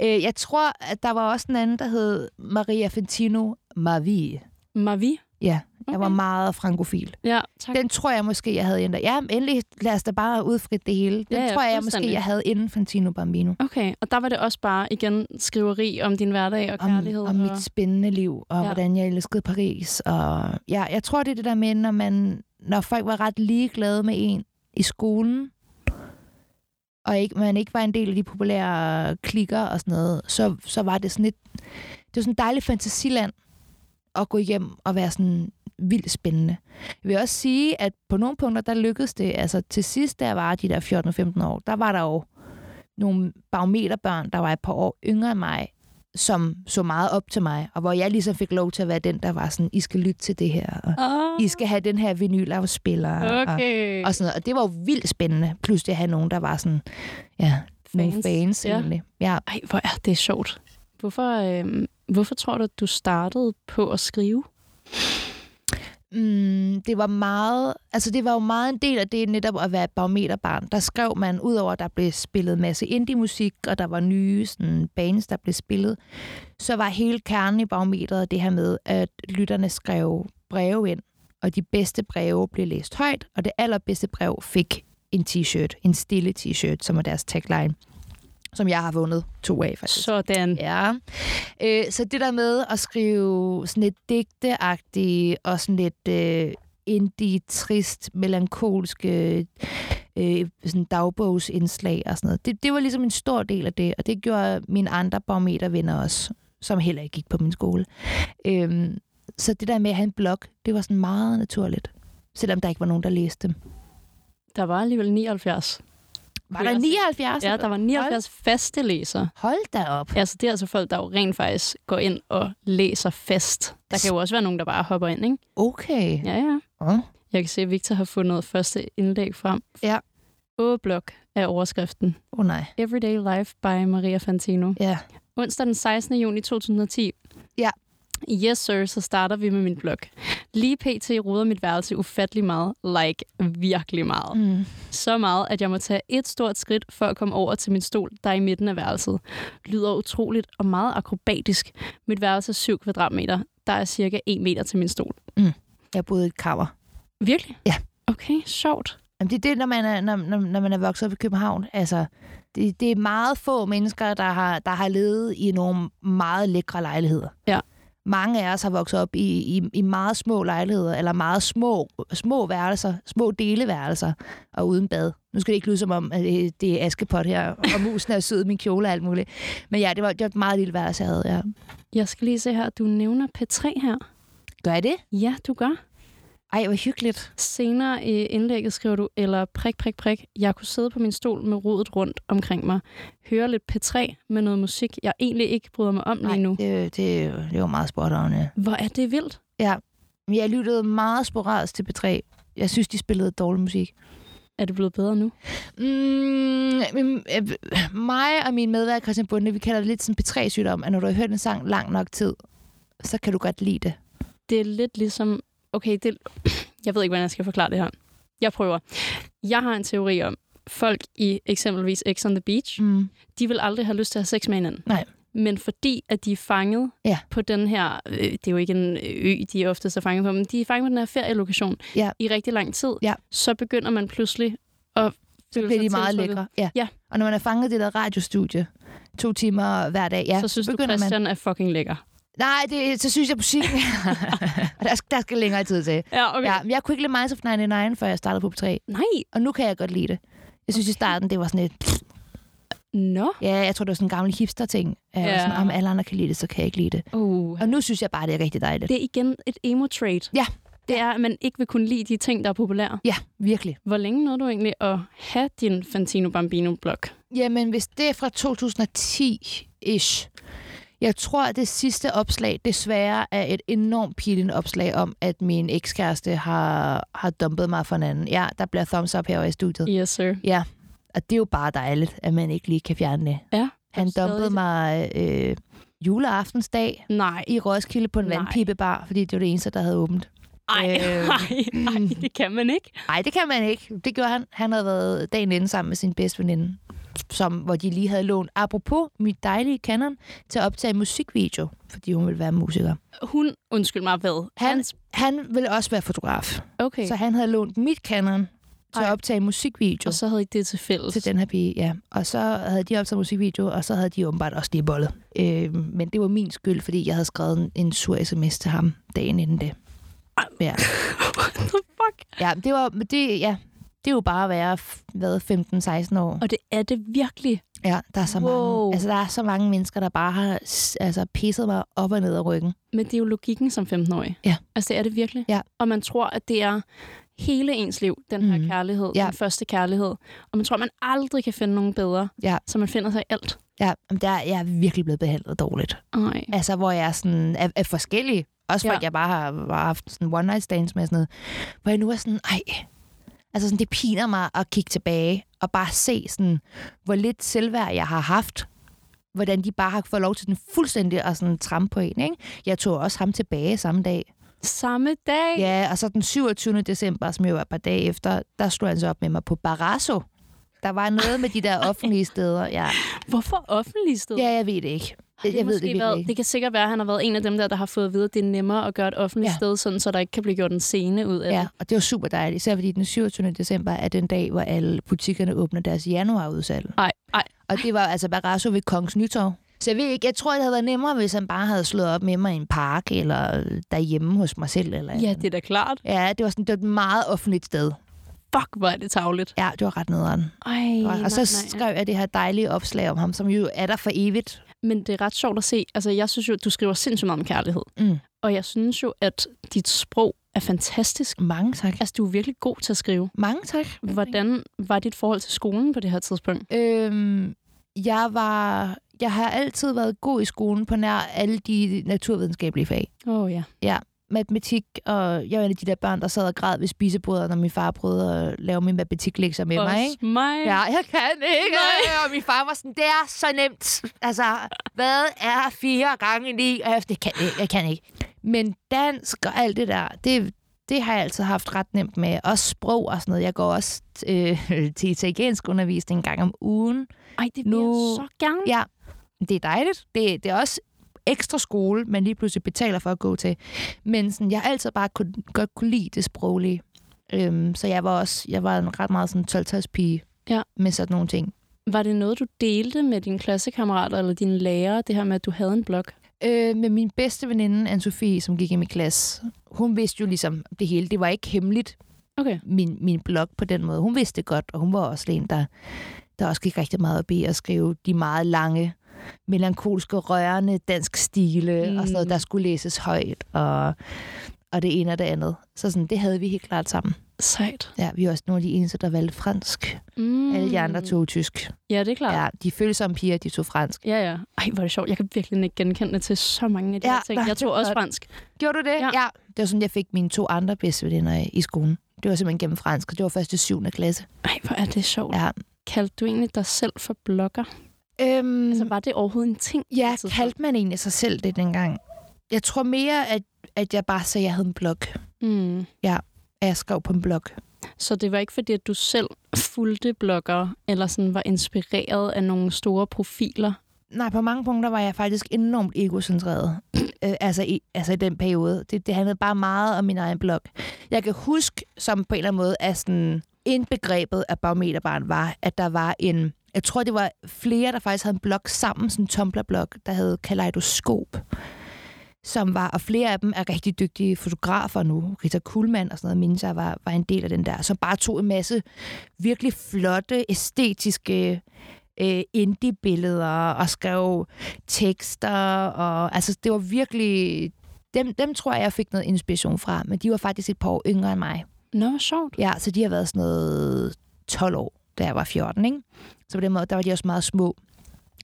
øh, jeg tror, at der var også en anden, der hed Maria Fentino Mavi.
Mavi?
Ja, okay.
Okay.
jeg var meget frankofil.
Ja, tak.
Den tror jeg måske, jeg havde ændret. Ja, men endelig lad os da bare udfrit det hele. Den
Ja, ja,
tror jeg, jeg måske,
fuldstændig.
jeg havde inden Fantino Bambino.
Okay, og der var det også bare igen skriveri om din hverdag og kærlighed.
Om, om
og...
mit spændende liv, og
Ja.
ja. hvordan jeg elskede Paris. Og ja, jeg tror, det er det der med, når, man, når folk var ret ligeglade med en i skolen, og ikke, man ikke var en del af de populære klikker og sådan noget, så, så var det sådan et, det var sådan et dejligt fantasiland at gå hjem og være sådan vildt spændende. Jeg vil også sige, at på nogle punkter, der lykkedes det. Altså til sidst, da jeg var de der 14-15 år, der var der jo nogle barometerbørn, der var et par år yngre end mig, som så meget op til mig, og hvor jeg ligesom fik lov til at være den, der var sådan, I skal lytte til det her, og
Ah,
I skal have den her vinylafspiller, og,
okay.
og sådan noget. Og det var jo vildt spændende, plus det at have nogen, der var sådan, ja, fans. nogle fans
Ja.
egentlig. Ja.
Ej, hvor er det sjovt. øhm, Hvorfor, øh, hvorfor tror du, at du startede på at skrive?
Mm, det var meget, altså det var jo meget en del af det netop at være et barometerbarn. Der skrev man, udover at der blev spillet en masse indie-musik, og der var nye sådan, bands, der blev spillet, så var hele kernen i barometeret det her med, at lytterne skrev breve ind, og de bedste breve blev læst højt, og det allerbedste brev fik en t-shirt, en stille t-shirt, som er deres tagline, som jeg har vundet to af faktisk.
Sådan.
Ja. Øh, så det der med at skrive sådan lidt digteagtige og sådan lidt øh, indie, trist, melankolske øh, sådan dagbogsindslag og sådan noget, det, det var ligesom en stor del af det, og det gjorde mine andre barometervenner også, som heller ikke gik på min skole. Øhm, så det der med at have en blog, det var sådan meget naturligt, selvom der ikke var nogen, der læste dem.
Der var alligevel 79.
Var
Det er
der
også-
79?
Ja, der var 79 faste læsere.
Hold da op.
Altså, det er altså folk, der jo rent faktisk går ind og læser fast. Der kan jo også være nogen, der bare hopper ind, ikke?
Okay.
Ja, ja.
Åh.
Jeg kan se, at Victor har fundet noget første indlæg frem.
Ja.
Åblok er overskriften.
Oh, nej.
Everyday Life by Maria Fantino.
Ja.
Onsdag den 16. juni 2010.
Ja.
I Yes sir, så starter vi med min blog. Lige pt. ruder mit værelse ufattelig meget, like virkelig meget.
Mm.
Så meget, at jeg må tage et stort skridt for at komme over til min stol, der er i midten af værelset. Lyder utroligt og meget akrobatisk. Mit værelse er 7 kvadratmeter. Der er cirka 1 meter til min stol.
Jeg boede i et kammer.
Virkelig?
Ja.
Okay, sjovt.
Jamen, det er det, når man er, når, når, når man er vokset op i København. Altså, det, det er meget få mennesker, der har, der har levet i nogle meget lækre lejligheder.
Ja.
Mange af os har vokset op i, i, i meget små lejligheder, eller meget små, små værelser, små deleværelser, og uden bad. Nu skal det ikke lyde som om, at det, det er askepot her, og musen er sød i min kjole og alt muligt. Men ja, det var, det var et meget lille værelse, jeg havde. Ja.
Jeg skal lige se her. Du nævner P3 her.
Gør jeg det?
Ja, du gør.
Ej, hvor hyggeligt.
Senere i indlægget skriver du, eller prik, prik, prik, jeg kunne sidde på min stol med rodet rundt omkring mig, høre lidt P3 med noget musik, jeg egentlig ikke bryder mig om lige nu.
det, det, det var meget spot on, ja.
Hvor er det vildt?
Men jeg lyttede meget sporadisk til B3. Jeg synes, de spillede dårlig musik.
Er det blevet bedre nu?
Mm, men, øh, mig og min medvært Christian Bunde, vi kalder det lidt sådan P3-sygdom, at når du har hørt en sang lang nok tid, så kan du godt lide det.
Det er lidt ligesom... Okay, det... jeg ved ikke, hvordan jeg skal forklare det her. Jeg prøver. Jeg har en teori om, folk i eksempelvis X on the Beach,
Mm.
de vil aldrig have lyst til at have sex med hinanden.
Nej.
Men fordi, at de er fanget
Ja.
på den her, øh, det er jo ikke en ø, de er ofte så fanget på, men de er fanget på den her ferielokation
Ja.
i rigtig lang tid,
Ja.
så begynder man pludselig at
Så
føle
bliver de
sig
meget
tiltrukket.
lækre. Ja.
Ja.
Og når man er fanget i det der radiostudie, to timer hver dag, ja,
så synes du, Christian er fucking lækker.
Nej, det, så synes jeg musikken. og der, skal- der skal længere tid til.
Ja, okay.
Ja, men jeg kunne ikke lide Minds of 99, før jeg startede på P3.
Nej,
Og nu kan jeg godt lide det. Jeg synes okay. i starten, det var sådan et...
nå.
Ja, jeg tror, det var sådan en gammel hipster-ting. Ja.
Ja.
Sådan, om alle andre kan lide det, så kan jeg ikke lide det.
Uh.
Og nu synes jeg bare, det er rigtig dejligt.
Det er igen et emo-trait.
Ja.
Det er, at man ikke vil kunne lide de ting, der er populære.
Ja, virkelig.
Hvor længe nåede du egentlig at have din Fantino Bambino-blog?
Jamen, hvis det er fra 2010-ish. Jeg tror, at det sidste opslag desværre er et enormt pilende opslag om, at min ekskæreste har, har dumpet mig for en anden. Ja, der bliver thumbs up herovre i studiet.
Yes, sir.
Ja, og det er jo bare dejligt, at man ikke lige kan fjerne det.
Ja.
Han
Stadig
dumpede
det.
mig øh, juleaftensdag
Nej.
i Roskilde på en
Nej.
vandpibebar, fordi det var det eneste, der havde åbent.
Ej,
Øhm.
nej, nej, det kan man ikke.
Nej, det kan man ikke. Det gjorde han. Han havde været dagen inden sammen med sin bedste veninde, som, hvor de lige havde lånt, apropos mit dejlige Canon, til at optage en musikvideo, fordi hun ville være musiker.
Hun, undskyld mig, hvad?
Han, han ville også være fotograf,
Okay,
så han havde lånt mit Canon til at
Ej.
optage en musikvideo
og så havde I det til fælles.
til den her pige, ja. Og så havde de optaget musikvideo, og så havde de åbenbart også lige bollet. Øh, men det var min skyld, fordi jeg havde skrevet en, en sur sms til ham dagen inden det. Ja.
What the fuck?
Ja, det var det, ja, det er jo bare at være f- hvad, 15-16 år.
Og det er det virkelig.
Ja, der er så
Wow.
mange. Altså, der er så mange mennesker, der bare har s- altså, pisset mig op og ned af ryggen.
Men det er jo logikken som 15-årig.
Ja.
Altså, det er det virkelig.
Ja.
Og man tror, at det er hele ens liv, den her
Mhm.
kærlighed,
Ja.
den første kærlighed. Og man tror, man aldrig kan finde nogen bedre.
Ja.
Så man finder sig i alt.
Ja, men der, jeg er virkelig blevet behandlet dårligt.
Ej.
Altså, hvor jeg er sådan, er, er forskellig. Også
Ja.
folk, jeg bare har, bare haft sådan one night stands med og sådan noget. Hvor jeg nu er sådan, ej. Altså, sådan, det piner mig at kigge tilbage og bare se, sådan, hvor lidt selvværd jeg har haft. Hvordan de bare har fået lov til den fuldstændig at sådan, trampe på en. Ikke? Jeg tog også ham tilbage samme dag.
Samme dag?
Ja, og så den 27. december, som jo var et par dage efter, der slog han så op med mig på Barrasso. Der var noget med de der offentlige steder. Ja,
Hvorfor offentlig sted?
ja jeg ved det ikke.
Det,
Jeg ved det
måske
virkelig
været,
ikke.
det kan sikkert være, at han har været en af dem der, der har fået at vide, at det er nemmere at gøre et offentligt
Ja.
ja. sted, sådan, så der ikke kan blive gjort en scene ud af
Ja,
det.
og det var super dejligt, især fordi den 27. december er den dag, hvor alle butikkerne åbner deres januarudsalg.
Ej, ej.
Og det var altså Barrasso ved Kongens Nytorv. Så jeg ved ikke, jeg tror, det havde været nemmere, hvis han bare havde slået op med mig i en park, eller derhjemme hos mig selv. Eller
Ja, det er da klart.
ja, det var sådan det var et meget offentligt sted.
Fuck, hvor er det tavligt.
Ja, det var ret nederen.
Ej,
Og,
nej,
og så
nej, ja.
skrev jeg det her dejlige opslag om ham, som jo er der for evigt.
Men det er ret sjovt at se. Altså, jeg synes jo, at du skriver sindssygt meget om kærlighed.
Mm.
Og jeg synes jo, at dit sprog er fantastisk.
Mange tak.
Altså, du er virkelig god til at skrive.
Mange tak.
Hvordan var dit forhold til skolen på det her tidspunkt?
Øhm, jeg var... Jeg har altid været god i skolen på nær alle de naturvidenskabelige fag.
Åh oh, ja.
Matematik, og jeg var en af de der børn, der sad og græd ved spisebordet, når min far prøvede at lave min matematiklektier med mig. Ikke?
Også mig.
Ja, jeg kan ikke. Nej. Og min far var sådan, det er så nemt. Altså, hvad er fire gange ni? Og jeg, det kan jeg ikke, jeg kan ikke. Men dansk og alt det der, det, det har jeg altid haft ret nemt med. Også sprog og sådan noget. Jeg går også øh, til italiensk undervisning en gang om ugen.
Ej, det vil
Nu-
jeg så gerne.
Ja, det er dejligt. Det, det er også ekstra skole, man lige pludselig betaler for at gå til. Men sådan, jeg har altid bare kun, godt kunne lide det sproglige. Øhm, så jeg var også jeg var en ret meget sådan 12 pige
Ja.
med sådan nogle ting.
Var det noget, du delte med dine klassekammerater eller dine lærere, det her med, at du havde en blog?
øh, med min bedste veninde, anne Sofie, som gik i min klasse. Hun vidste jo ligesom det hele. Det var ikke hemmeligt,
Okay.
min, min blog på den måde. Hun vidste det godt, og hun var også en, der, der også gik rigtig meget op i at skrive de meget lange, melankolske, rørende dansk stile mm. og sådan noget, der skulle læses højt, og, og det ene og det andet. Så sådan, det havde vi helt klart sammen.
Sejt.
Ja, vi er også nogle af de eneste, der valgte fransk. Mm. Alle de andre tog tysk.
Ja, det er klart.
Ja, de følsomme piger, de tog fransk.
Ja, ja. Ej, hvor er det sjovt. Jeg kan virkelig ikke genkende det til så mange af de
Ja,
ja, her ting.
nej,
Jeg
det
tog
er
også
godt.
fransk.
Gjorde du det?
Ja.
ja. Det var sådan, jeg fik mine to andre bedste veninder i, i skolen. Det var simpelthen gennem fransk, og det var først i 7. klasse.
Ej, hvor er det sjovt. Ja.
Ja.
Kaldte du egentlig dig selv for blogger?
Øhm,
Altså, var det overhovedet en ting? Altså, på
ja,
det tidspunkt?
kaldte man egentlig sig selv det dengang? Jeg tror mere, at, at jeg bare sagde, at jeg havde en blog.
Mm.
At jeg skrev på en blog.
Så det var ikke fordi, at du selv fulgte blogger, eller sådan var inspireret af nogle store profiler?
Nej, på mange punkter var jeg faktisk enormt egocentreret. øh, altså, i, altså i den periode. Det, det handlede bare meget om min egen blog. Jeg kan huske, som på en eller anden måde er sådan indbegrebet af barometerbarn var, at der var en... Jeg tror, det var flere, der faktisk havde en blog sammen, sådan en Tumblr-blog, der hed Kaleidoskop, som var, og flere af dem er rigtig dygtige fotografer nu. Rita Kuhlmann og sådan noget, mindes jeg, var, var en del af den der, som bare tog en masse virkelig flotte, æstetiske øh, indie-billeder og skrev tekster. Og, altså, det var virkelig... Dem, dem tror jeg, jeg fik noget inspiration fra, men de var faktisk et par år yngre end mig.
Nå, hvor sjovt.
Ja, så de har været sådan noget 12 år, da jeg var 14, ikke? Så på den måde, der var de også meget små.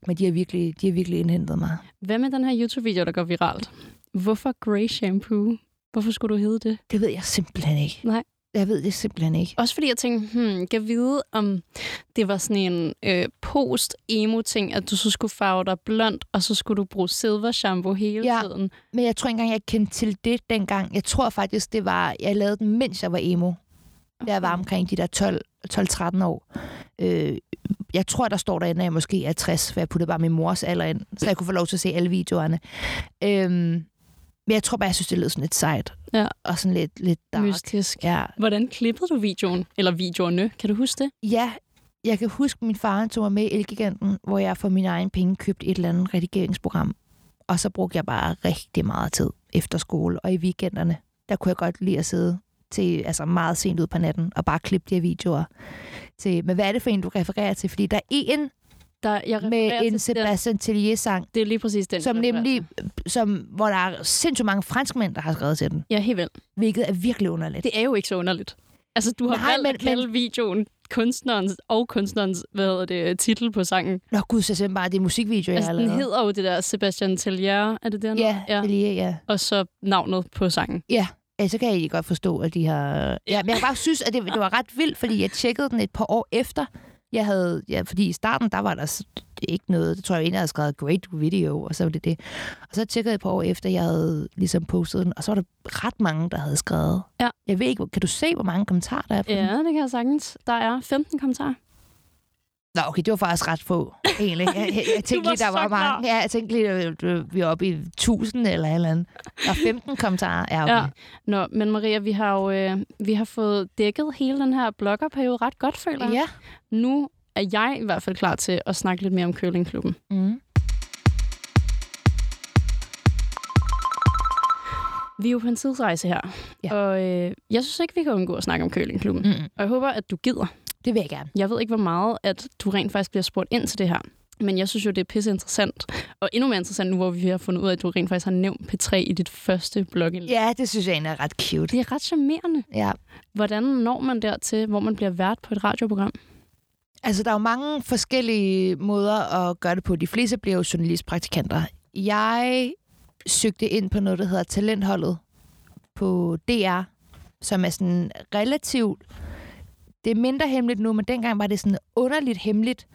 Men de har virkelig, de har virkelig indhentet mig.
Hvad med den her YouTube-video, der går viralt? Hvorfor Grey Shampoo? Hvorfor skulle du hedde det?
Det ved jeg simpelthen ikke.
Nej.
Jeg ved det simpelthen ikke.
Også fordi jeg tænkte, hmm, kan jeg vide, om det var sådan en øh, post-emo-ting, at du så skulle farve dig blond, og så skulle du bruge silver shampoo hele
Ja.
tiden.
Men jeg tror ikke engang, jeg kendte til det dengang. Jeg tror faktisk, det var, jeg lavede den, mens jeg var emo. Da jeg var omkring de der 12-13 år. Øh, jeg tror, der står derinde, at jeg måske er 60, for jeg puttede bare min mors alder ind, så jeg kunne få lov til at se alle videoerne. Øhm, men jeg tror bare, jeg synes, det lød sådan lidt sejt.
Ja.
Og sådan lidt, lidt dark.
Mystisk.
Ja.
Hvordan klippede du videoen? Eller videoerne, kan du huske det?
ja, jeg kan huske, min far han tog mig med i Elgiganten, hvor jeg for mine egne penge købte et eller andet redigeringsprogram. Og så brugte jeg bare rigtig meget tid efter skole. Og i weekenderne, der kunne jeg godt lide at sidde til altså meget sent ud på natten og bare klippe de her videoer. Til, men hvad er det for en, du refererer til? Fordi der er en
Der, jeg refererer
med
til
en
den.
Sebastian Tellier-sang,
Det er lige præcis den.
som
jeg refererer
nemlig,
til.
som, hvor der er sindssygt mange franskmænd, der har skrevet til den,
Ja, helt vel.
hvilket er virkelig underligt.
Det er jo ikke så underligt. Altså, du har
Nej,
Nej, valgt men,
men-
at kalde men... videoen kunstnerens og kunstnerens, hvad hedder det, titel på sangen.
Nå gud, så simpelthen bare, det er musikvideo, jeg
Altså,
har
den
lavet.
hedder jo det der Sebastian Tellier, er det det, han
Ja,
hedder? ja.
Tellier, ja.
Og så navnet på sangen.
Ja, så kan jeg egentlig godt forstå, at de har... Ja, men jeg kan bare synes, at det, det var ret vildt, fordi jeg tjekkede den et par år efter, Jeg havde, ja, fordi i starten, der var der s- ikke noget. Det tror jeg, egentlig, jeg havde skrevet great video, og så var det det. Og så tjekkede jeg et par år efter, jeg havde ligesom postet den, og så var der ret mange, der havde skrevet.
Ja.
Jeg ved ikke, hvor- kan du se, hvor mange kommentarer der er? på den?
Ja, det kan jeg sagtens. Der er 15 kommentarer.
Nå, okay, det var faktisk ret få, egentlig. Jeg, jeg, jeg tænkte
var
lige, der
så
var
klar.
mange. Ja, jeg tænkte lige, at øh, vi er oppe i 1000 eller et eller andet. Der er 15 kommentarer. Ja, Ah, okay.
Ja. Nå, men Maria, vi har jo øh, vi har fået dækket hele den her bloggerperiode ret godt, føler jeg.
ja.
Nu er jeg i hvert fald klar til at snakke lidt mere om curlingklubben.
Mm.
Vi er jo på en tidsrejse her,
Ja.
og øh, jeg synes ikke, vi kan undgå at snakke om curlingklubben.
Mm.
Og jeg håber, at du gider.
Det vil jeg gerne.
Jeg ved ikke, hvor meget at du rent faktisk bliver spurgt ind til det her. Men jeg synes jo, det er pisse interessant. Og endnu mere interessant nu, hvor vi har fundet ud af, at du rent faktisk har nævnt P3 i dit første blogindlæg.
Ja, det synes jeg egentlig er ret cute.
Det er ret charmerende.
Ja.
Hvordan når man dertil, hvor man bliver vært på et radioprogram?
Altså, der er jo mange forskellige måder at gøre det på. De fleste bliver jo journalistpraktikanter. Jeg søgte ind på noget, der hedder Talentholdet på DR, som er sådan relativt... Det er mindre hemmeligt nu, men dengang var det sådan underligt hemmeligt,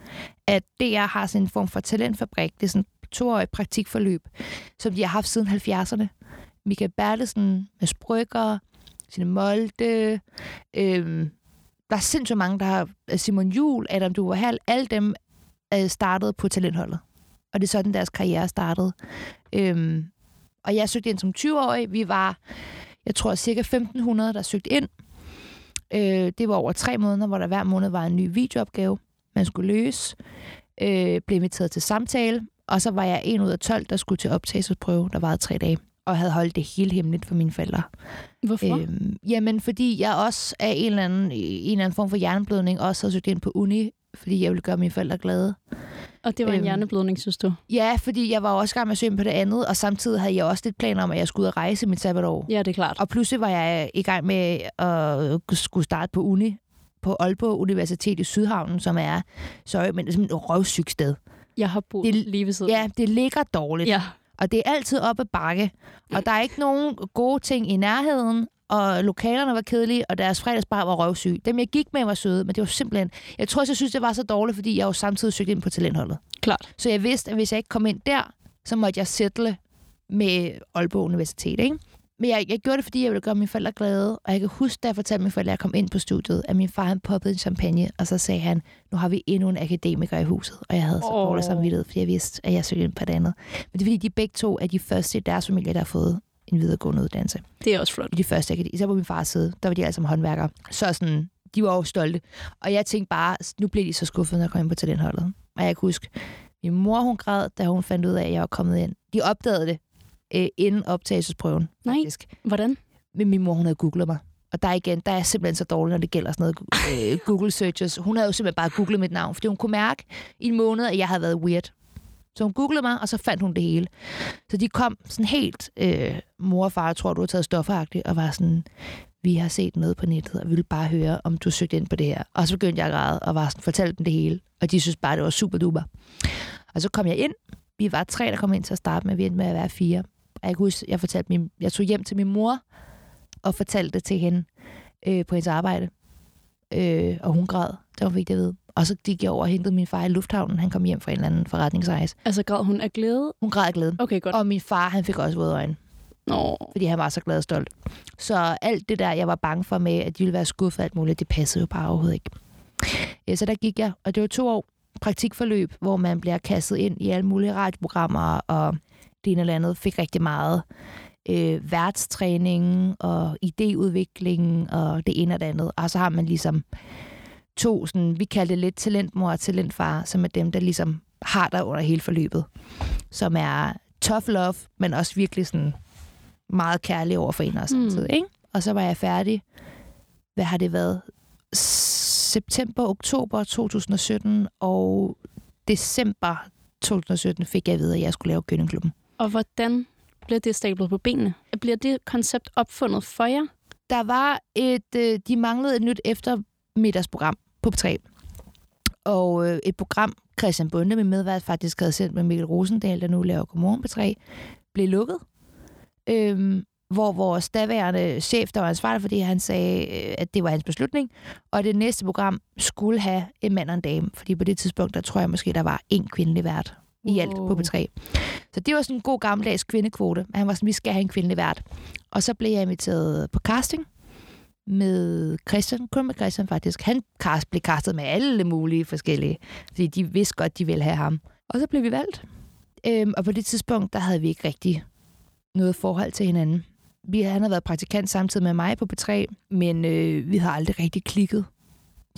at DR har sådan en form for talentfabrik. Det er sådan et toårigt praktikforløb, som de har haft siden 70'erne. Michael Bertelsen, Mads Brygger, Signe Molde, øhm, der er sindssygt mange, der har øh, Simon Jul, Adam Duverhal, alle dem øh, startede på talentholdet. Og det er sådan, deres karriere startede. Øhm, og jeg søgte ind som 20-årig. Vi var, jeg tror, cirka 1500, der søgte ind. Øh, det var over tre måneder, hvor der hver måned var en ny videoopgave, man skulle løse. Øh, blev inviteret til samtale. Og så var jeg en ud af 12, der skulle til optagelsesprøve, der varede tre dage. Og havde holdt det helt hemmeligt for mine forældre.
Hvorfor? Øh.
Øhm, jamen, fordi jeg også af en eller anden, en eller anden form for hjerneblødning også havde søgt ind på uni, fordi jeg ville gøre mine forældre glade.
Og det var en
øhm.
hjerneblødning, synes du?
Ja, fordi jeg var også i gang med at søge ind på det andet, og samtidig havde jeg også lidt planer om, at jeg skulle ud og rejse mit sabbatår.
Ja, det er klart.
Og pludselig var jeg i gang med at skulle starte på uni på Aalborg Universitet i Sydhavnen, som er, sorry, men det er simpelthen et røvsygt sted.
Jeg har boet
Det-
det... lige ved siden.
Ja, det ligger dårligt.
ja.
Og det er altid op ad bakke. Og der er ikke nogen gode ting i nærheden. Og lokalerne var kedelige, og deres fredagsbar var røvsyg. Dem, jeg gik med, var søde, men det var simpelthen... Jeg tror også, jeg synes, det var så dårligt, fordi jeg jo samtidig søgte ind på talentholdet.
Klart.
Så jeg vidste, at hvis jeg ikke kom ind der, så måtte jeg sætte med Aalborg Universitet, ikke? Men jeg, jeg gjorde det, fordi jeg ville gøre mine forældre glade, og jeg kan huske, da jeg fortalte mine forældre, at jeg kom ind på studiet, at min far han poppede en champagne, og så sagde han, nu har vi endnu en akademiker i huset, og jeg havde så
Åh.
oh. dårlig samvittighed, fordi jeg vidste, at jeg søgte ind på det andet. Men det er fordi, de begge to er de første i deres familie, der har fået en videregående uddannelse.
Det er også flot.
I de første akademi, især på min fars side, der var de alle sammen håndværkere. Så sådan, de var jo stolte. Og jeg tænkte bare, nu blev de så skuffede, når jeg kom ind på talentholdet. Og jeg kan huske, min mor hun græd, da hun fandt ud af, at jeg var kommet ind. De opdagede det øh, inden optagelsesprøven,
Nej.
faktisk.
Hvordan?
Men min mor, hun havde googlet mig. Og der igen, der er jeg simpelthen så dårlig, når det gælder sådan noget øh, Google searches. Hun havde jo simpelthen bare googlet mit navn, fordi hun kunne mærke i en måned, at jeg havde været weird. Så hun googlede mig, og så fandt hun det hele. Så de kom sådan helt, øh, mor og far tror, du har taget stofferagtigt, og var sådan, vi har set noget på nettet, og vi ville bare høre, om du søgte ind på det her. Og så begyndte jeg at græde, og var sådan, fortalte dem det hele. Og de synes bare, det var super duper. Og så kom jeg ind. Vi var tre, der kom ind til at starte med. Vi endte med at være fire. Og jeg kan huske, jeg, fortalte min, jeg tog hjem til min mor, og fortalte det til hende øh, på hendes arbejde. Øh, og hun græd, da hun fik det at vide. Og så gik jeg over og hentede min far i lufthavnen. Han kom hjem fra en eller anden forretningsrejse.
Altså, græd hun af glæde?
Hun græd af glæde.
Okay, godt.
Og min far, han fik også våde øjne,
Nå.
fordi han var så glad og stolt. Så alt det der, jeg var bange for med, at de ville være skuffet og alt muligt, det passede jo bare overhovedet ikke. Ja, Øh, så der gik jeg, og det var to år praktikforløb, hvor man bliver kastet ind i alle mulige radioprogrammer, og det ene eller andet fik rigtig meget øh, værtstræning og idéudvikling og det ene og det andet. Og så har man ligesom to, sådan, vi kalder det lidt talentmor og talentfar, som er dem, der ligesom har dig under hele forløbet. Som er tough love, men også virkelig sådan meget kærlig over for en og samtidig.
Hmm.
Mm. Ikke? Og så var jeg færdig. Hvad har det været? September, oktober 2017 og december 2017 fik jeg at vide, at jeg skulle lave Gønneklubben.
Og hvordan bliver det stablet på benene? Bliver det koncept opfundet for jer?
der var et, øh, de manglede et nyt eftermiddagsprogram på P3. Og øh, et program, Christian Bunde, min medvært, faktisk havde sendt med Mikkel Rosendal, der nu laver Godmorgen på 3, blev lukket. Øhm, hvor vores daværende chef, der var ansvarlig, fordi han sagde, øh, at det var hans beslutning, og det næste program skulle have en mand og en dame, fordi på det tidspunkt, der tror jeg måske, der var en kvindelig vært i alt på
Wow.
B3. Så det var sådan en god gammeldags kvindekvote. Han var sådan, vi skal have en kvindelig vært. Og så blev jeg inviteret på casting med Christian, kun med Christian faktisk. Han cast, blev castet med alle mulige forskellige, fordi de vidste godt, de ville have ham. Og så blev vi valgt. Øhm, og på det tidspunkt, der havde vi ikke rigtig noget forhold til hinanden. Vi, han havde været praktikant samtidig med mig på B3, men øh, vi havde aldrig rigtig klikket.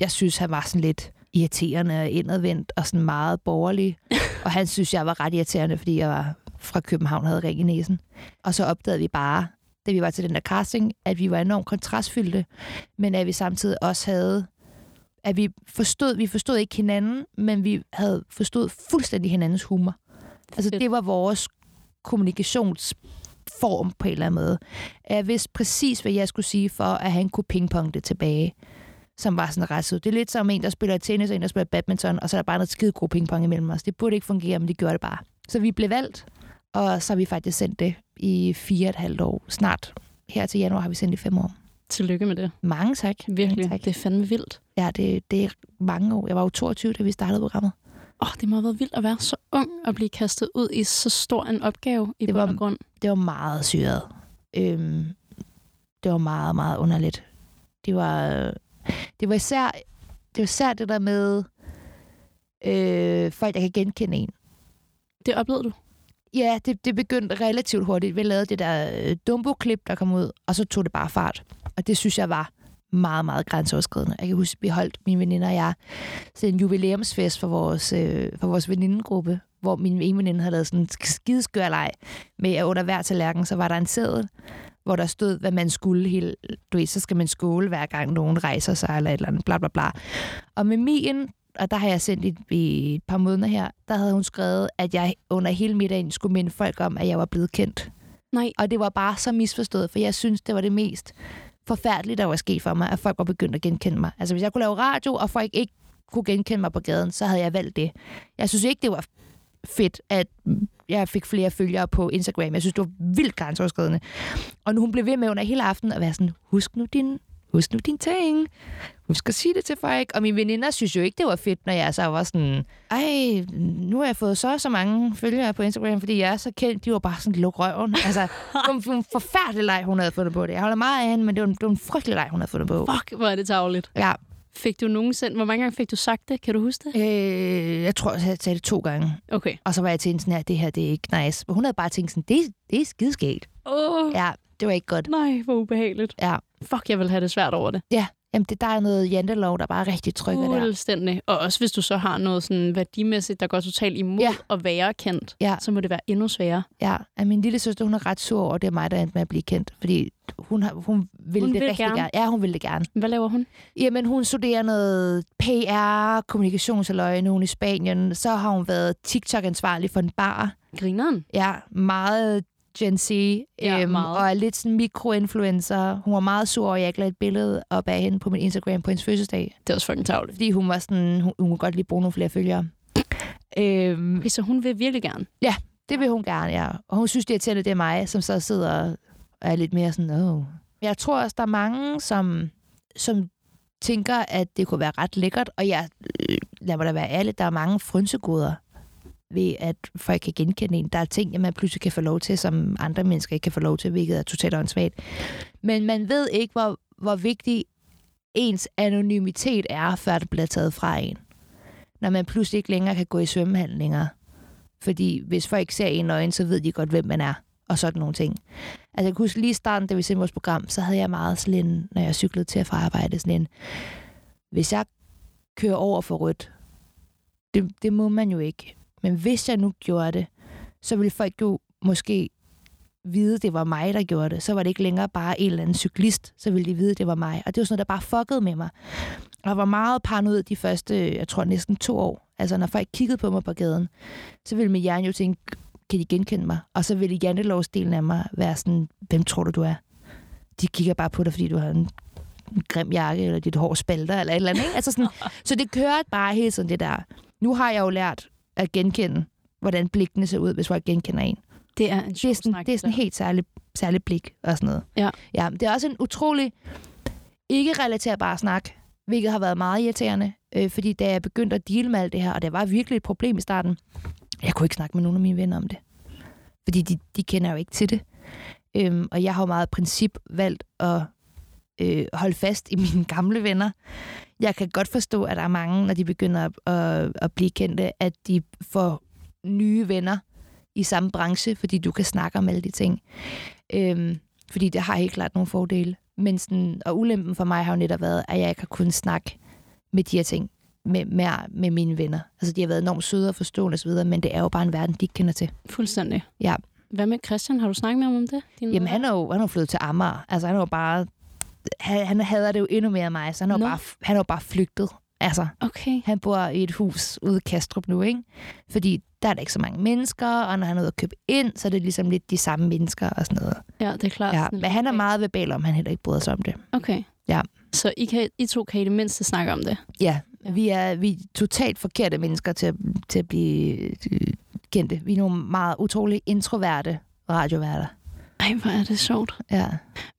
Jeg synes, han var sådan lidt irriterende og indadvendt og sådan meget borgerlig. og han synes, jeg var ret irriterende, fordi jeg var fra København og havde ring i næsen. Og så opdagede vi bare, da vi var til den der casting, at vi var enormt kontrastfyldte, men at vi samtidig også havde at vi forstod, vi forstod ikke hinanden, men vi havde forstået fuldstændig hinandens humor. Altså,
Fedt.
det var vores kommunikationsform på en eller anden måde. At Jeg vidste præcis, hvad jeg skulle sige, for at han kunne pingponge det tilbage, som var sådan ret sød. Det er lidt som en, der spiller tennis, og en, der spiller badminton, og så er der bare noget skide god pingpong imellem os. Det burde ikke fungere, men det gjorde det bare. Så vi blev valgt, og så har vi faktisk sendt det i fire og et halvt år. Snart her til januar har vi sendt det i fem år.
Tillykke med det.
Mange tak.
Virkelig.
Mange tak.
Det er fandme vildt.
Ja, det, det er mange år. Jeg var jo 22, da vi startede programmet.
Åh, oh, det må have været vildt at være så ung og blive kastet ud i så stor en opgave i
Det
det
var-
bund og grund.
Det var meget syret. Øhm, det var meget, meget underligt. Det var, det var, især, det var især det der med øh, folk, der kan genkende en.
Det oplevede du?
Ja, det, det begyndte relativt hurtigt. Vi lavede det der øh, Dumbo-klip, der kom ud, og så tog det bare fart. Og det synes jeg var meget, meget grænseoverskridende. Jeg kan huske, at vi holdt mine veninder og jeg til en jubilæumsfest for vores, øh, for vores venindegruppe, hvor min ene veninde havde lavet sådan en sk- skideskør leg med, at under hver tallerken, så var der en seddel, hvor der stod, hvad man skulle. Hele, du ved, så skal man skåle, hver gang nogen rejser sig, eller et eller andet, bla bla bla. Og med Mien, og der har jeg sendt et, i et par måneder her, der havde hun skrevet, at jeg under hele middagen skulle minde folk om, at jeg var blevet kendt.
Nej.
Og det var bare så misforstået, for jeg synes, det var det mest forfærdelige, der var sket for mig, at folk var begyndt at genkende mig. Altså, hvis jeg kunne lave radio, og folk ikke kunne genkende mig på gaden, så havde jeg valgt det. Jeg synes ikke, det var fedt, at jeg fik flere følgere på Instagram. Jeg synes, det var vildt grænseoverskridende. Og nu hun blev ved med under hele aftenen at være sådan, husk nu din, husk nu din ting. Husk at sige det til folk. Og mine veninder synes jo ikke, det var fedt, når jeg så var sådan, ej, nu har jeg fået så og så mange følgere på Instagram, fordi jeg er så kendt. De var bare sådan, luk røven. Altså, det var en- det var en forfærdelig leg, hun havde fundet på det. Jeg holder meget af hende, men det var en, det var en frygtelig leg, hun havde fundet på.
Fuck, hvor er det tavligt.
Ja,
Fik du nogensinde... Hvor mange gange fik du sagt det? Kan du huske det?
øh, jeg tror, jeg sagde det to gange.
Okay.
Og så var jeg til hende sådan her, det her, det er ikke nice. Men hun havde bare tænkt sådan, det, det er skideskægt.
Åh, oh,
Ja, det var ikke godt.
nej, hvor ubehageligt.
Ja.
Fuck, jeg vil have det svært over det.
Ja, jamen det, der er noget jantelov, der bare rigtig trykker der.
Fuldstændig. Og også hvis du så har noget sådan værdimæssigt, der går totalt imod
Ja.
ja. at være kendt,
Ja.
så må det være endnu sværere.
Ja, at min lille søster, hun er ret sur over, at det er mig, der endte med at blive kendt. Fordi hun, har, hun ville
Hun
det
vil
rigtig gerne.
gerne.
gerne. Ja, hun ville det gerne.
Hvad laver hun?
Jamen, hun studerer noget PR, kommunikationsaløje, nu er hun i Spanien. Så har hun været TikTok-ansvarlig for en bar.
Grineren.
Ja, meget Gen Z. øhm,
Ja, meget.
Og er lidt sådan mikroinfluencer. Hun var meget sur over, at jeg ikke lagde et billede op af hende på min Instagram på hendes fødselsdag.
Det er også fucking tavligt.
Fordi hun var sådan, hun, hun kunne godt lige bruge nogle flere følgere. Øhm,
Okay, så hun vil virkelig gerne.
Det vil hun gerne, ja. Og hun synes, det er irriterende, det er mig, som så sidder og er lidt mere sådan, oh. Jeg tror også, der er mange, som, som tænker, at det kunne være ret lækkert, og jeg, øh, lad mig da være ærlig, der er mange frynsegoder ved, at folk kan genkende en. Der er ting, man pludselig kan få lov til, som andre mennesker ikke kan få lov til, hvilket er totalt åndssvagt. Men man ved ikke, hvor, hvor vigtig ens anonymitet er, før det bliver taget fra en. Når man pludselig ikke længere kan gå i svømmehallen længere. Fordi hvis folk ser en øjne, så ved de godt, hvem man er. Og sådan nogle ting. Altså jeg kan huske lige i starten, da vi sendte vores program, så havde jeg meget sådan en, når jeg cyklede til og fra arbejde, sådan en, hvis jeg kører over for rødt, det, det må man jo ikke. Men hvis jeg nu gjorde det, så ville folk jo måske vide, det var mig, der gjorde det. Så var det ikke længere bare en eller anden cyklist, så ville de vide, det var mig. Og det var sådan noget, der bare fuckede med mig. Og jeg var meget paranoid de første, jeg tror næsten to år. Altså når folk kiggede på mig på gaden, så ville min hjerne jo tænke, kan de genkende mig? Og så ville jantelovsdelen af mig være sådan, hvem tror du, du er? De kigger bare på dig, fordi du har en, en grim jakke, eller dit hår spalter, eller et eller andet. Ikke? Altså sådan, så det kører bare hele tiden, det der. Nu har jeg jo lært at genkende, hvordan blikkene ser ud, hvis folk genkender en.
Det er en
Det
sjov
er sådan,
snak,
det er sådan
der.
helt særligt særligt blik og sådan noget.
Ja.
ja men det er også en utrolig ikke relaterbar snak, hvilket har været meget irriterende, øh, fordi da jeg begyndte at deal med alt det her, og det var virkelig et problem i starten, jeg kunne ikke snakke med nogen af mine venner om det. Fordi de, de kender jo ikke til det. Øhm, og jeg har jo meget af princip valgt at øh, holde fast i mine gamle venner. Jeg kan godt forstå, at der er mange, når de begynder at, at, at blive kendte, at de får nye venner i samme branche, fordi du kan snakke om alle de ting. Øhm, fordi det har helt klart nogle fordele. Men sådan, og ulempen for mig har jo netop været, at jeg ikke har kunnet snakke med de her ting med, med, med mine venner. Altså, de har været enormt søde og forstående osv., men det er jo bare en verden, de ikke kender til.
Fuldstændig.
Ja.
Hvad med Christian? Har du snakket med ham om det? Din
Jamen, han er jo, han er jo flyttet til Amager. Altså, han er jo bare... Han, han hader det jo endnu mere end mig, så han er, jo
Nå.
bare, han er jo bare flygtet. Altså,
Okay.
han bor i et hus ude i Kastrup nu, ikke? Fordi der er der ikke så mange mennesker, og når han er ude at købe ind, så er det ligesom lidt de samme mennesker og sådan noget.
Ja, det er klart.
Ja,
Sådan
men han er
lidt-
meget verbal om, han heller ikke bryder sig om det.
Okay.
Ja.
Så I, kan, I to kan i det mindste snakke om det.
Ja,
Ja.
vi er, vi er totalt forkerte mennesker til at, til at blive øh, kendte. Vi er nogle meget utrolig introverte radioværter.
Ej, hvor er det sjovt.
Ja.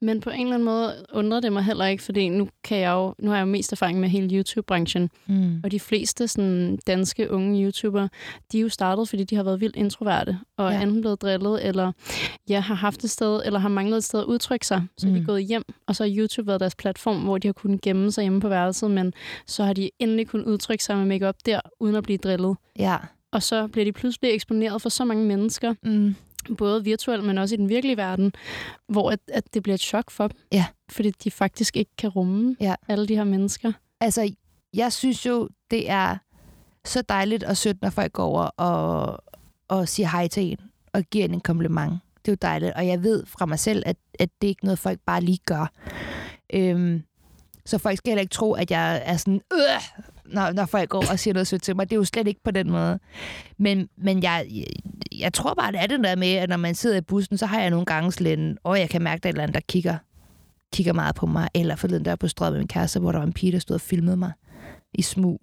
Men på en eller anden måde undrer det mig heller ikke, fordi nu, kan jeg jo, nu har jeg jo mest erfaring med hele YouTube-branchen.
Mm.
Og de fleste sådan, danske unge YouTubere, de er jo startet, fordi de har været vildt introverte, og
Ja.
ja. enten blevet drillet, eller ja, har haft et sted, eller har manglet et sted at udtrykke sig. Så mm. de
Mm.
er gået hjem, og så har YouTube været deres platform, hvor de har kunnet gemme sig hjemme på værelset, men så har de endelig kunnet udtrykke sig med makeup der, uden at blive drillet.
Ja.
Og så bliver de pludselig eksponeret for så mange mennesker,
Mm.
både virtuelt, men også i den virkelige verden, hvor at, at det bliver et chok for dem.
Ja.
Fordi de faktisk ikke kan rumme
Ja.
alle de her mennesker.
Altså, jeg synes jo, det er så dejligt og sødt, når folk går over og, og siger hej til en, og giver en en kompliment. Det er jo dejligt, og jeg ved fra mig selv, at, at det er ikke noget, folk bare lige gør. Øhm, så folk skal heller ikke tro, at jeg er sådan, øh, når, når folk går og siger noget sødt til mig. Det er jo slet ikke på den måde. Men, men jeg, jeg tror bare, det er det der med, at når man sidder i bussen, så har jeg nogle gange sådan en, åh, jeg kan mærke, der er et eller andet, der kigger kigger meget på mig. Eller forleden der på strøget med min kæreste, hvor der var en pige, der stod og filmede mig i smug.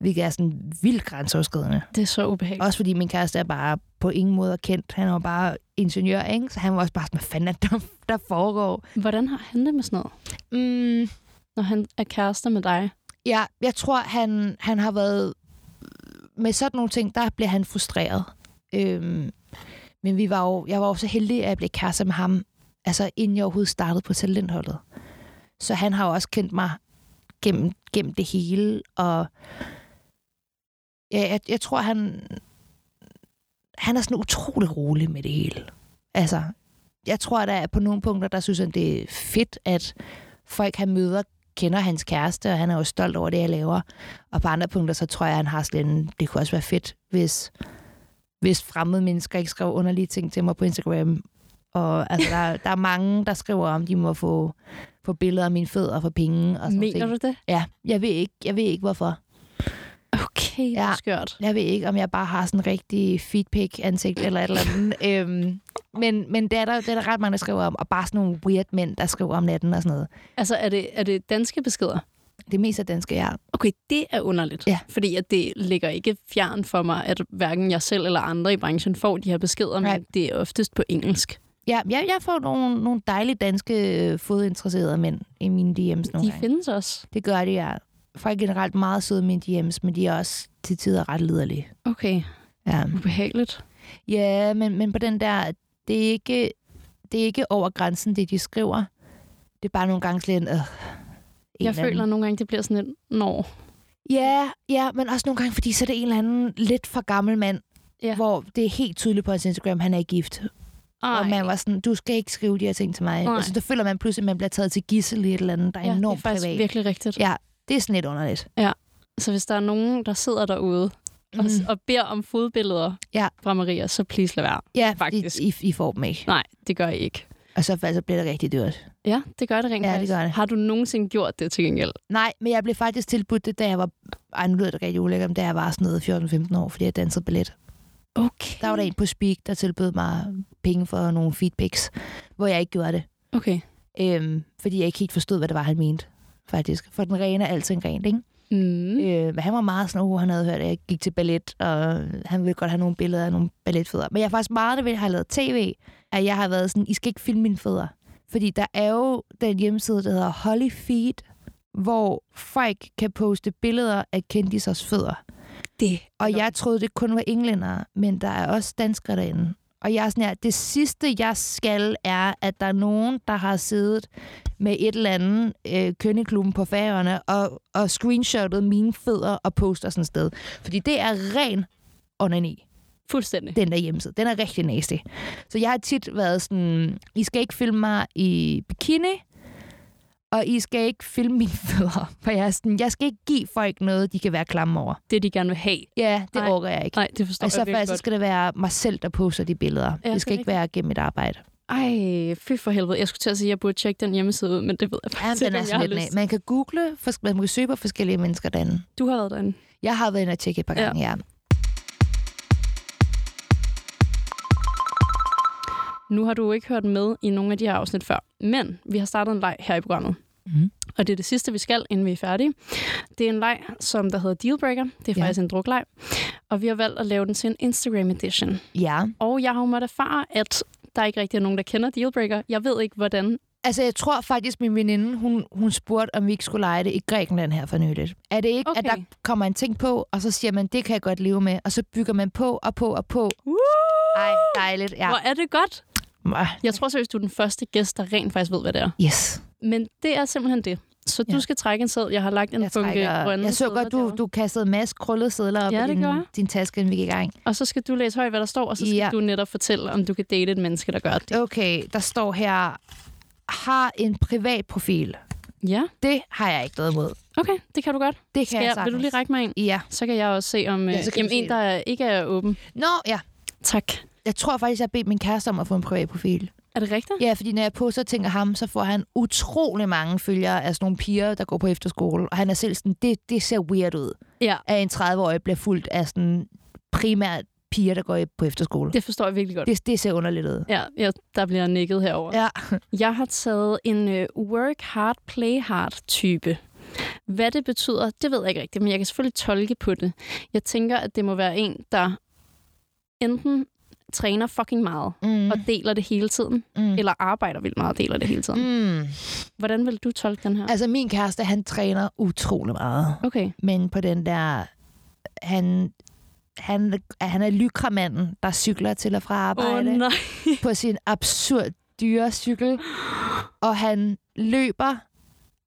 Hvilket er sådan vildt grænseoverskridende.
Det er så ubehageligt.
Også fordi min kæreste er bare på ingen måde kendt. Han er jo bare ingeniør, ikke? Så han var også bare sådan, hvad fanden er det, der, der foregår?
Og hvordan har han det med sådan noget,
Mm,
når han er kærester med dig?
ja, jeg tror, han, han har været... Med sådan nogle ting, der bliver han frustreret. Øhm, men vi var jo, jeg var jo så heldig, at jeg blev kærester med ham, altså inden jeg overhovedet startede på talentholdet. Så han har jo også kendt mig gennem, gennem det hele, og ja, jeg, jeg tror, han, han er sådan utrolig rolig med det hele. Altså, jeg tror da, at på nogle punkter, der synes han, det er fedt, at folk, han møder, kender hans kæreste, og han er jo stolt over det, jeg laver. Og på andre punkter, så tror jeg, han har sådan en, det kunne også være fedt, hvis hvis fremmede mennesker ikke skrev underlige ting til mig på Instagram. Og altså, der, der er mange, der skriver om, de må få, få billeder af mine fødder for penge. Og sådan nogle
Mener
ting.
du det?
Ja, jeg ved ikke, jeg ved ikke hvorfor.
Okay, det
Ja.
er skørt.
Jeg ved ikke, om jeg bare har sådan en rigtig feedpick ansigt eller et eller andet. øhm, men, men det er, der, det er der ret mange, der skriver om. Og bare sådan nogle weird mænd, der skriver om natten og sådan noget.
Altså, er det, er det danske beskeder?
Det meste af danske er.
Okay, det er underligt.
Ja.
Fordi at det ligger ikke fjern for mig, at hverken jeg selv eller andre i branchen får de her beskeder, men
Nej.
det er oftest på engelsk.
Ja, jeg, jeg får nogle, nogle dejlige danske øh, fodinteresserede mænd i mine DM's nogle
De
gange.
findes også.
Det gør de, ja. Folk er generelt meget søde i mine DM's, men de er også til tider ret liderlige.
Okay,
Ja.
ubehageligt.
Ja, men, men på den der, det er, ikke, det er ikke over grænsen, det de skriver. Det er bare nogle gange slet en, øh, en
Jeg
eller anden.
føler nogle gange, det bliver sådan et, nå,
Ja, ja, men også nogle gange, fordi så er det en eller anden lidt for gammel mand, ja.
Ja.
hvor det er helt tydeligt på hans Instagram, han er gift. Ej. Og
ej,
man var sådan, du skal ikke skrive de her ting til mig.
Nej.
Altså, der føler man pludselig, at man bliver taget til gissel i et eller andet, der er ja,
ja, det er
enormt
faktisk
privat.
virkelig rigtigt.
Ja, det er sådan lidt underligt.
Så hvis der er nogen, der sidder derude og, s- og beder om fodbilleder
Mhm. Ja.
fra Maria, så please lad være.
Ja,
faktisk.
I, I, I får dem ikke.
Nej, det gør I ikke.
Og så, så bliver det rigtig dyrt.
Ja, det gør det rent
Ja, det
faktisk.
gør det.
Har du nogensinde gjort det til gengæld?
Nej, men jeg blev faktisk tilbudt det, da jeg var... Ej, nu lyder det rigtig ulækkert, da jeg var sådan noget 14-15 år, fordi jeg dansede ballet.
Okay.
Der var der en på Speak, der tilbød mig penge for nogle feedbacks, hvor jeg ikke gjorde det.
Okay.
Øhm, fordi jeg ikke helt forstod, hvad det var, han mente, faktisk. For den rene er altid en rent, ikke?
Mm.
Øh, men han var meget sådan, uh, han havde hørt, at jeg gik til ballet, og han ville godt have nogle billeder af nogle balletfødder. Men jeg er faktisk meget det ved, at jeg har lavet tv, at jeg har været sådan, I skal ikke filme mine fødder. Fordi der er jo den hjemmeside, der hedder Holly Feed, hvor folk kan poste billeder af kendisers fødder.
Det.
Og jeg troede, det kun var englændere, men der er også danskere derinde. Og jeg er sådan her, det sidste, jeg skal, er, at der er nogen, der har siddet med et eller andet øh, kønneklubben på færgerne og, og screenshotet mine fødder og poster sådan et sted. Fordi det er ren onani,
Fuldstændig.
den der hjemmeside. Den er rigtig nasty. Så jeg har tit været sådan, I skal ikke filme mig i bikini, og I skal ikke filme mine fødder. For jeg er sådan, jeg skal ikke give folk noget, de kan være klamme over.
Det, de gerne vil have.
Ja, det
Nej.
overgår jeg ikke.
Nej, det forstår
Og i så
jeg virkelig
fald, så
godt.
Altså, skal det være mig selv, der poster de billeder.
Ja,
Ja,
det er
det skal ikke
rigtigt.
være gennem mit arbejde.
Ej, fy for helvede. Jeg skulle til at sige, at jeg burde tjekke den hjemmeside ud, men altså, det ved jeg
Ja,
faktisk
den
ikke,
er
om jeg
sådan
har
lidt nat.
lyst.
Man kan google, fors- man kan søge på forskellige mennesker derinde.
Du har været derinde.
Jeg har været inde og tjekke et par
Ja.
gange, ja.
Nu har du jo ikke hørt med i nogle af de her afsnit før, men vi har startet en leg her i programmet.
Mhm.
Og det er det sidste, vi skal, inden vi er færdige. Det er en leg, som der hedder Dealbreaker. Det er
Ja.
faktisk en drukleg. Og vi har valgt at lave den til en Instagram edition.
Ja.
Og jeg har jo måttet erfare, at der ikke rigtig er nogen, der kender Dealbreaker. Jeg ved ikke, hvordan.
Altså, jeg tror faktisk, min veninde, hun, hun spurgte, om vi ikke skulle lege det i Grækenland her for nyligt. Er det ikke, okay. at
Okay.
der kommer en ting på, og så siger man, det kan jeg godt leve med, og så bygger man på og på og på.
Woo!
Ej, dejligt, ja.
Hvor er det godt.
Mwah.
Jeg tror seriøst, du er den første gæst, der rent faktisk ved, hvad det er.
Yes.
Men det er simpelthen det. Så du
Ja.
skal trække en sæd. Jeg har lagt en
Jeg,
bunke
trækker,
grønne
jeg så
sedler
godt, du,
derovre.
du kastede en masse krøllede sædler op
Ja,
i
det
din,
gør jeg.
din taske, inden vi gik i gang.
Og så skal du læse højt, hvad der står, og så skal
Ja.
du netop fortælle, om du kan date et menneske, der gør det.
Okay, der står her, har en privat profil.
Ja,
Det har jeg ikke noget imod. Det
okay. Det kan du godt.
kan
Skal
jeg
jeg,
sagtens.
vil du lige række mig en?
Ja.
Så kan jeg også se, om
Ja,
øh,
så kan
jamen,
du se
en,
det.
der ikke er åben.
Nå, ja.
Tak.
Jeg tror faktisk, jeg har bedt min kæreste om at få en privat profil.
Er det rigtigt?
Ja, fordi når jeg poster ting af ham, så får han utrolig mange følgere af sådan nogle piger, der går på efterskole. Og han er selv sådan, det, det ser weird ud,
Ja.
at en 30-årig bliver fuldt af sådan primært piger, der går i- på efterskole. Det,
Det forstår jeg virkelig godt.
det, det ser underligt ud.
Ja, ja, der bliver nikket herover.
Ja.
Jeg har taget en øh, work hard, play hard type. Hvad det betyder, det ved jeg ikke rigtigt, men jeg kan selvfølgelig tolke på det. Jeg tænker, at det må være en, der enten træner fucking meget
Mm.
og deler det hele tiden,
Mm.
eller arbejder vildt meget og deler det hele tiden.
Mm.
Hvordan vil du tolke den her?
Altså, min kæreste, han træner utrolig meget.
Okay.
men på den der... Han, han, han er lykramanden, der cykler til og fra arbejde
Åh,
oh,
nej.
på sin absurd dyre cykel. Og han løber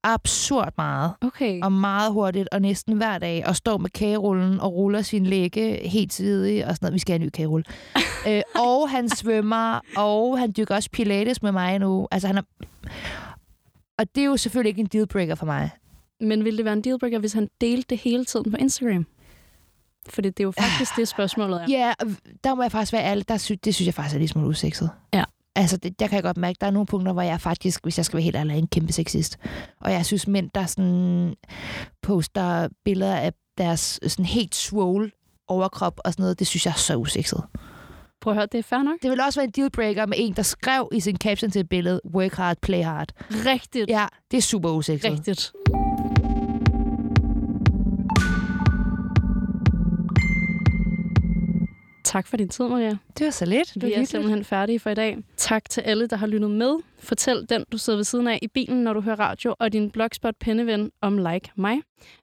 absurd meget
Okay.
og meget hurtigt og næsten hver dag og står med kagerullen og ruller sin lægge helt tidligt og sådan noget. Vi skal have en ny kagerulle. øh, og han svømmer, og han dykker også pilates med mig nu. Altså, han er... Og det er jo selvfølgelig ikke en dealbreaker for mig.
Men ville det være en dealbreaker, hvis han delte det hele tiden på Instagram? Fordi det er jo faktisk det, spørgsmålet er.
Ja, og der må jeg faktisk være ærlig. Der sy- det synes jeg faktisk er lidt smule usekset.
Ja.
Altså, det, der kan jeg godt mærke, der er nogle punkter, hvor jeg faktisk, hvis jeg skal være helt ærlig, er en kæmpe sexist. Og jeg synes, mænd, der sådan poster billeder af deres sådan helt swole overkrop og sådan noget, det synes jeg er så usekset.
Prøv at høre, det er fair nok.
Det ville også være en dealbreaker med en, der skrev i sin caption til et billede, work hard, play hard.
Rigtigt.
Ja, det er super usekset.
Rigtigt. Tak for din tid, Maria.
Det var så lidt. Det var
Vi er
hyggeligt.
simpelthen færdige for i dag. Tak til alle, der har lyttet med. Fortæl den, du sidder ved siden af i bilen, når du hører radio, og din blogspot penneven om Like Mig.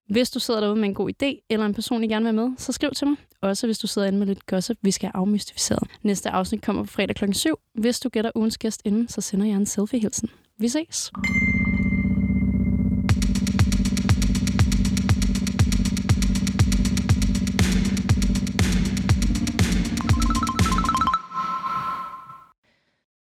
Hvis du sidder derude med en god idé, eller en person, I gerne vil være med, så skriv til mig. Også hvis du sidder inde med lidt gossip, vi skal have afmystificeret. Næste afsnit kommer på fredag kl. 7. Hvis du gætter ugens gæst inden, så sender jeg en selfie-hilsen. Vi ses.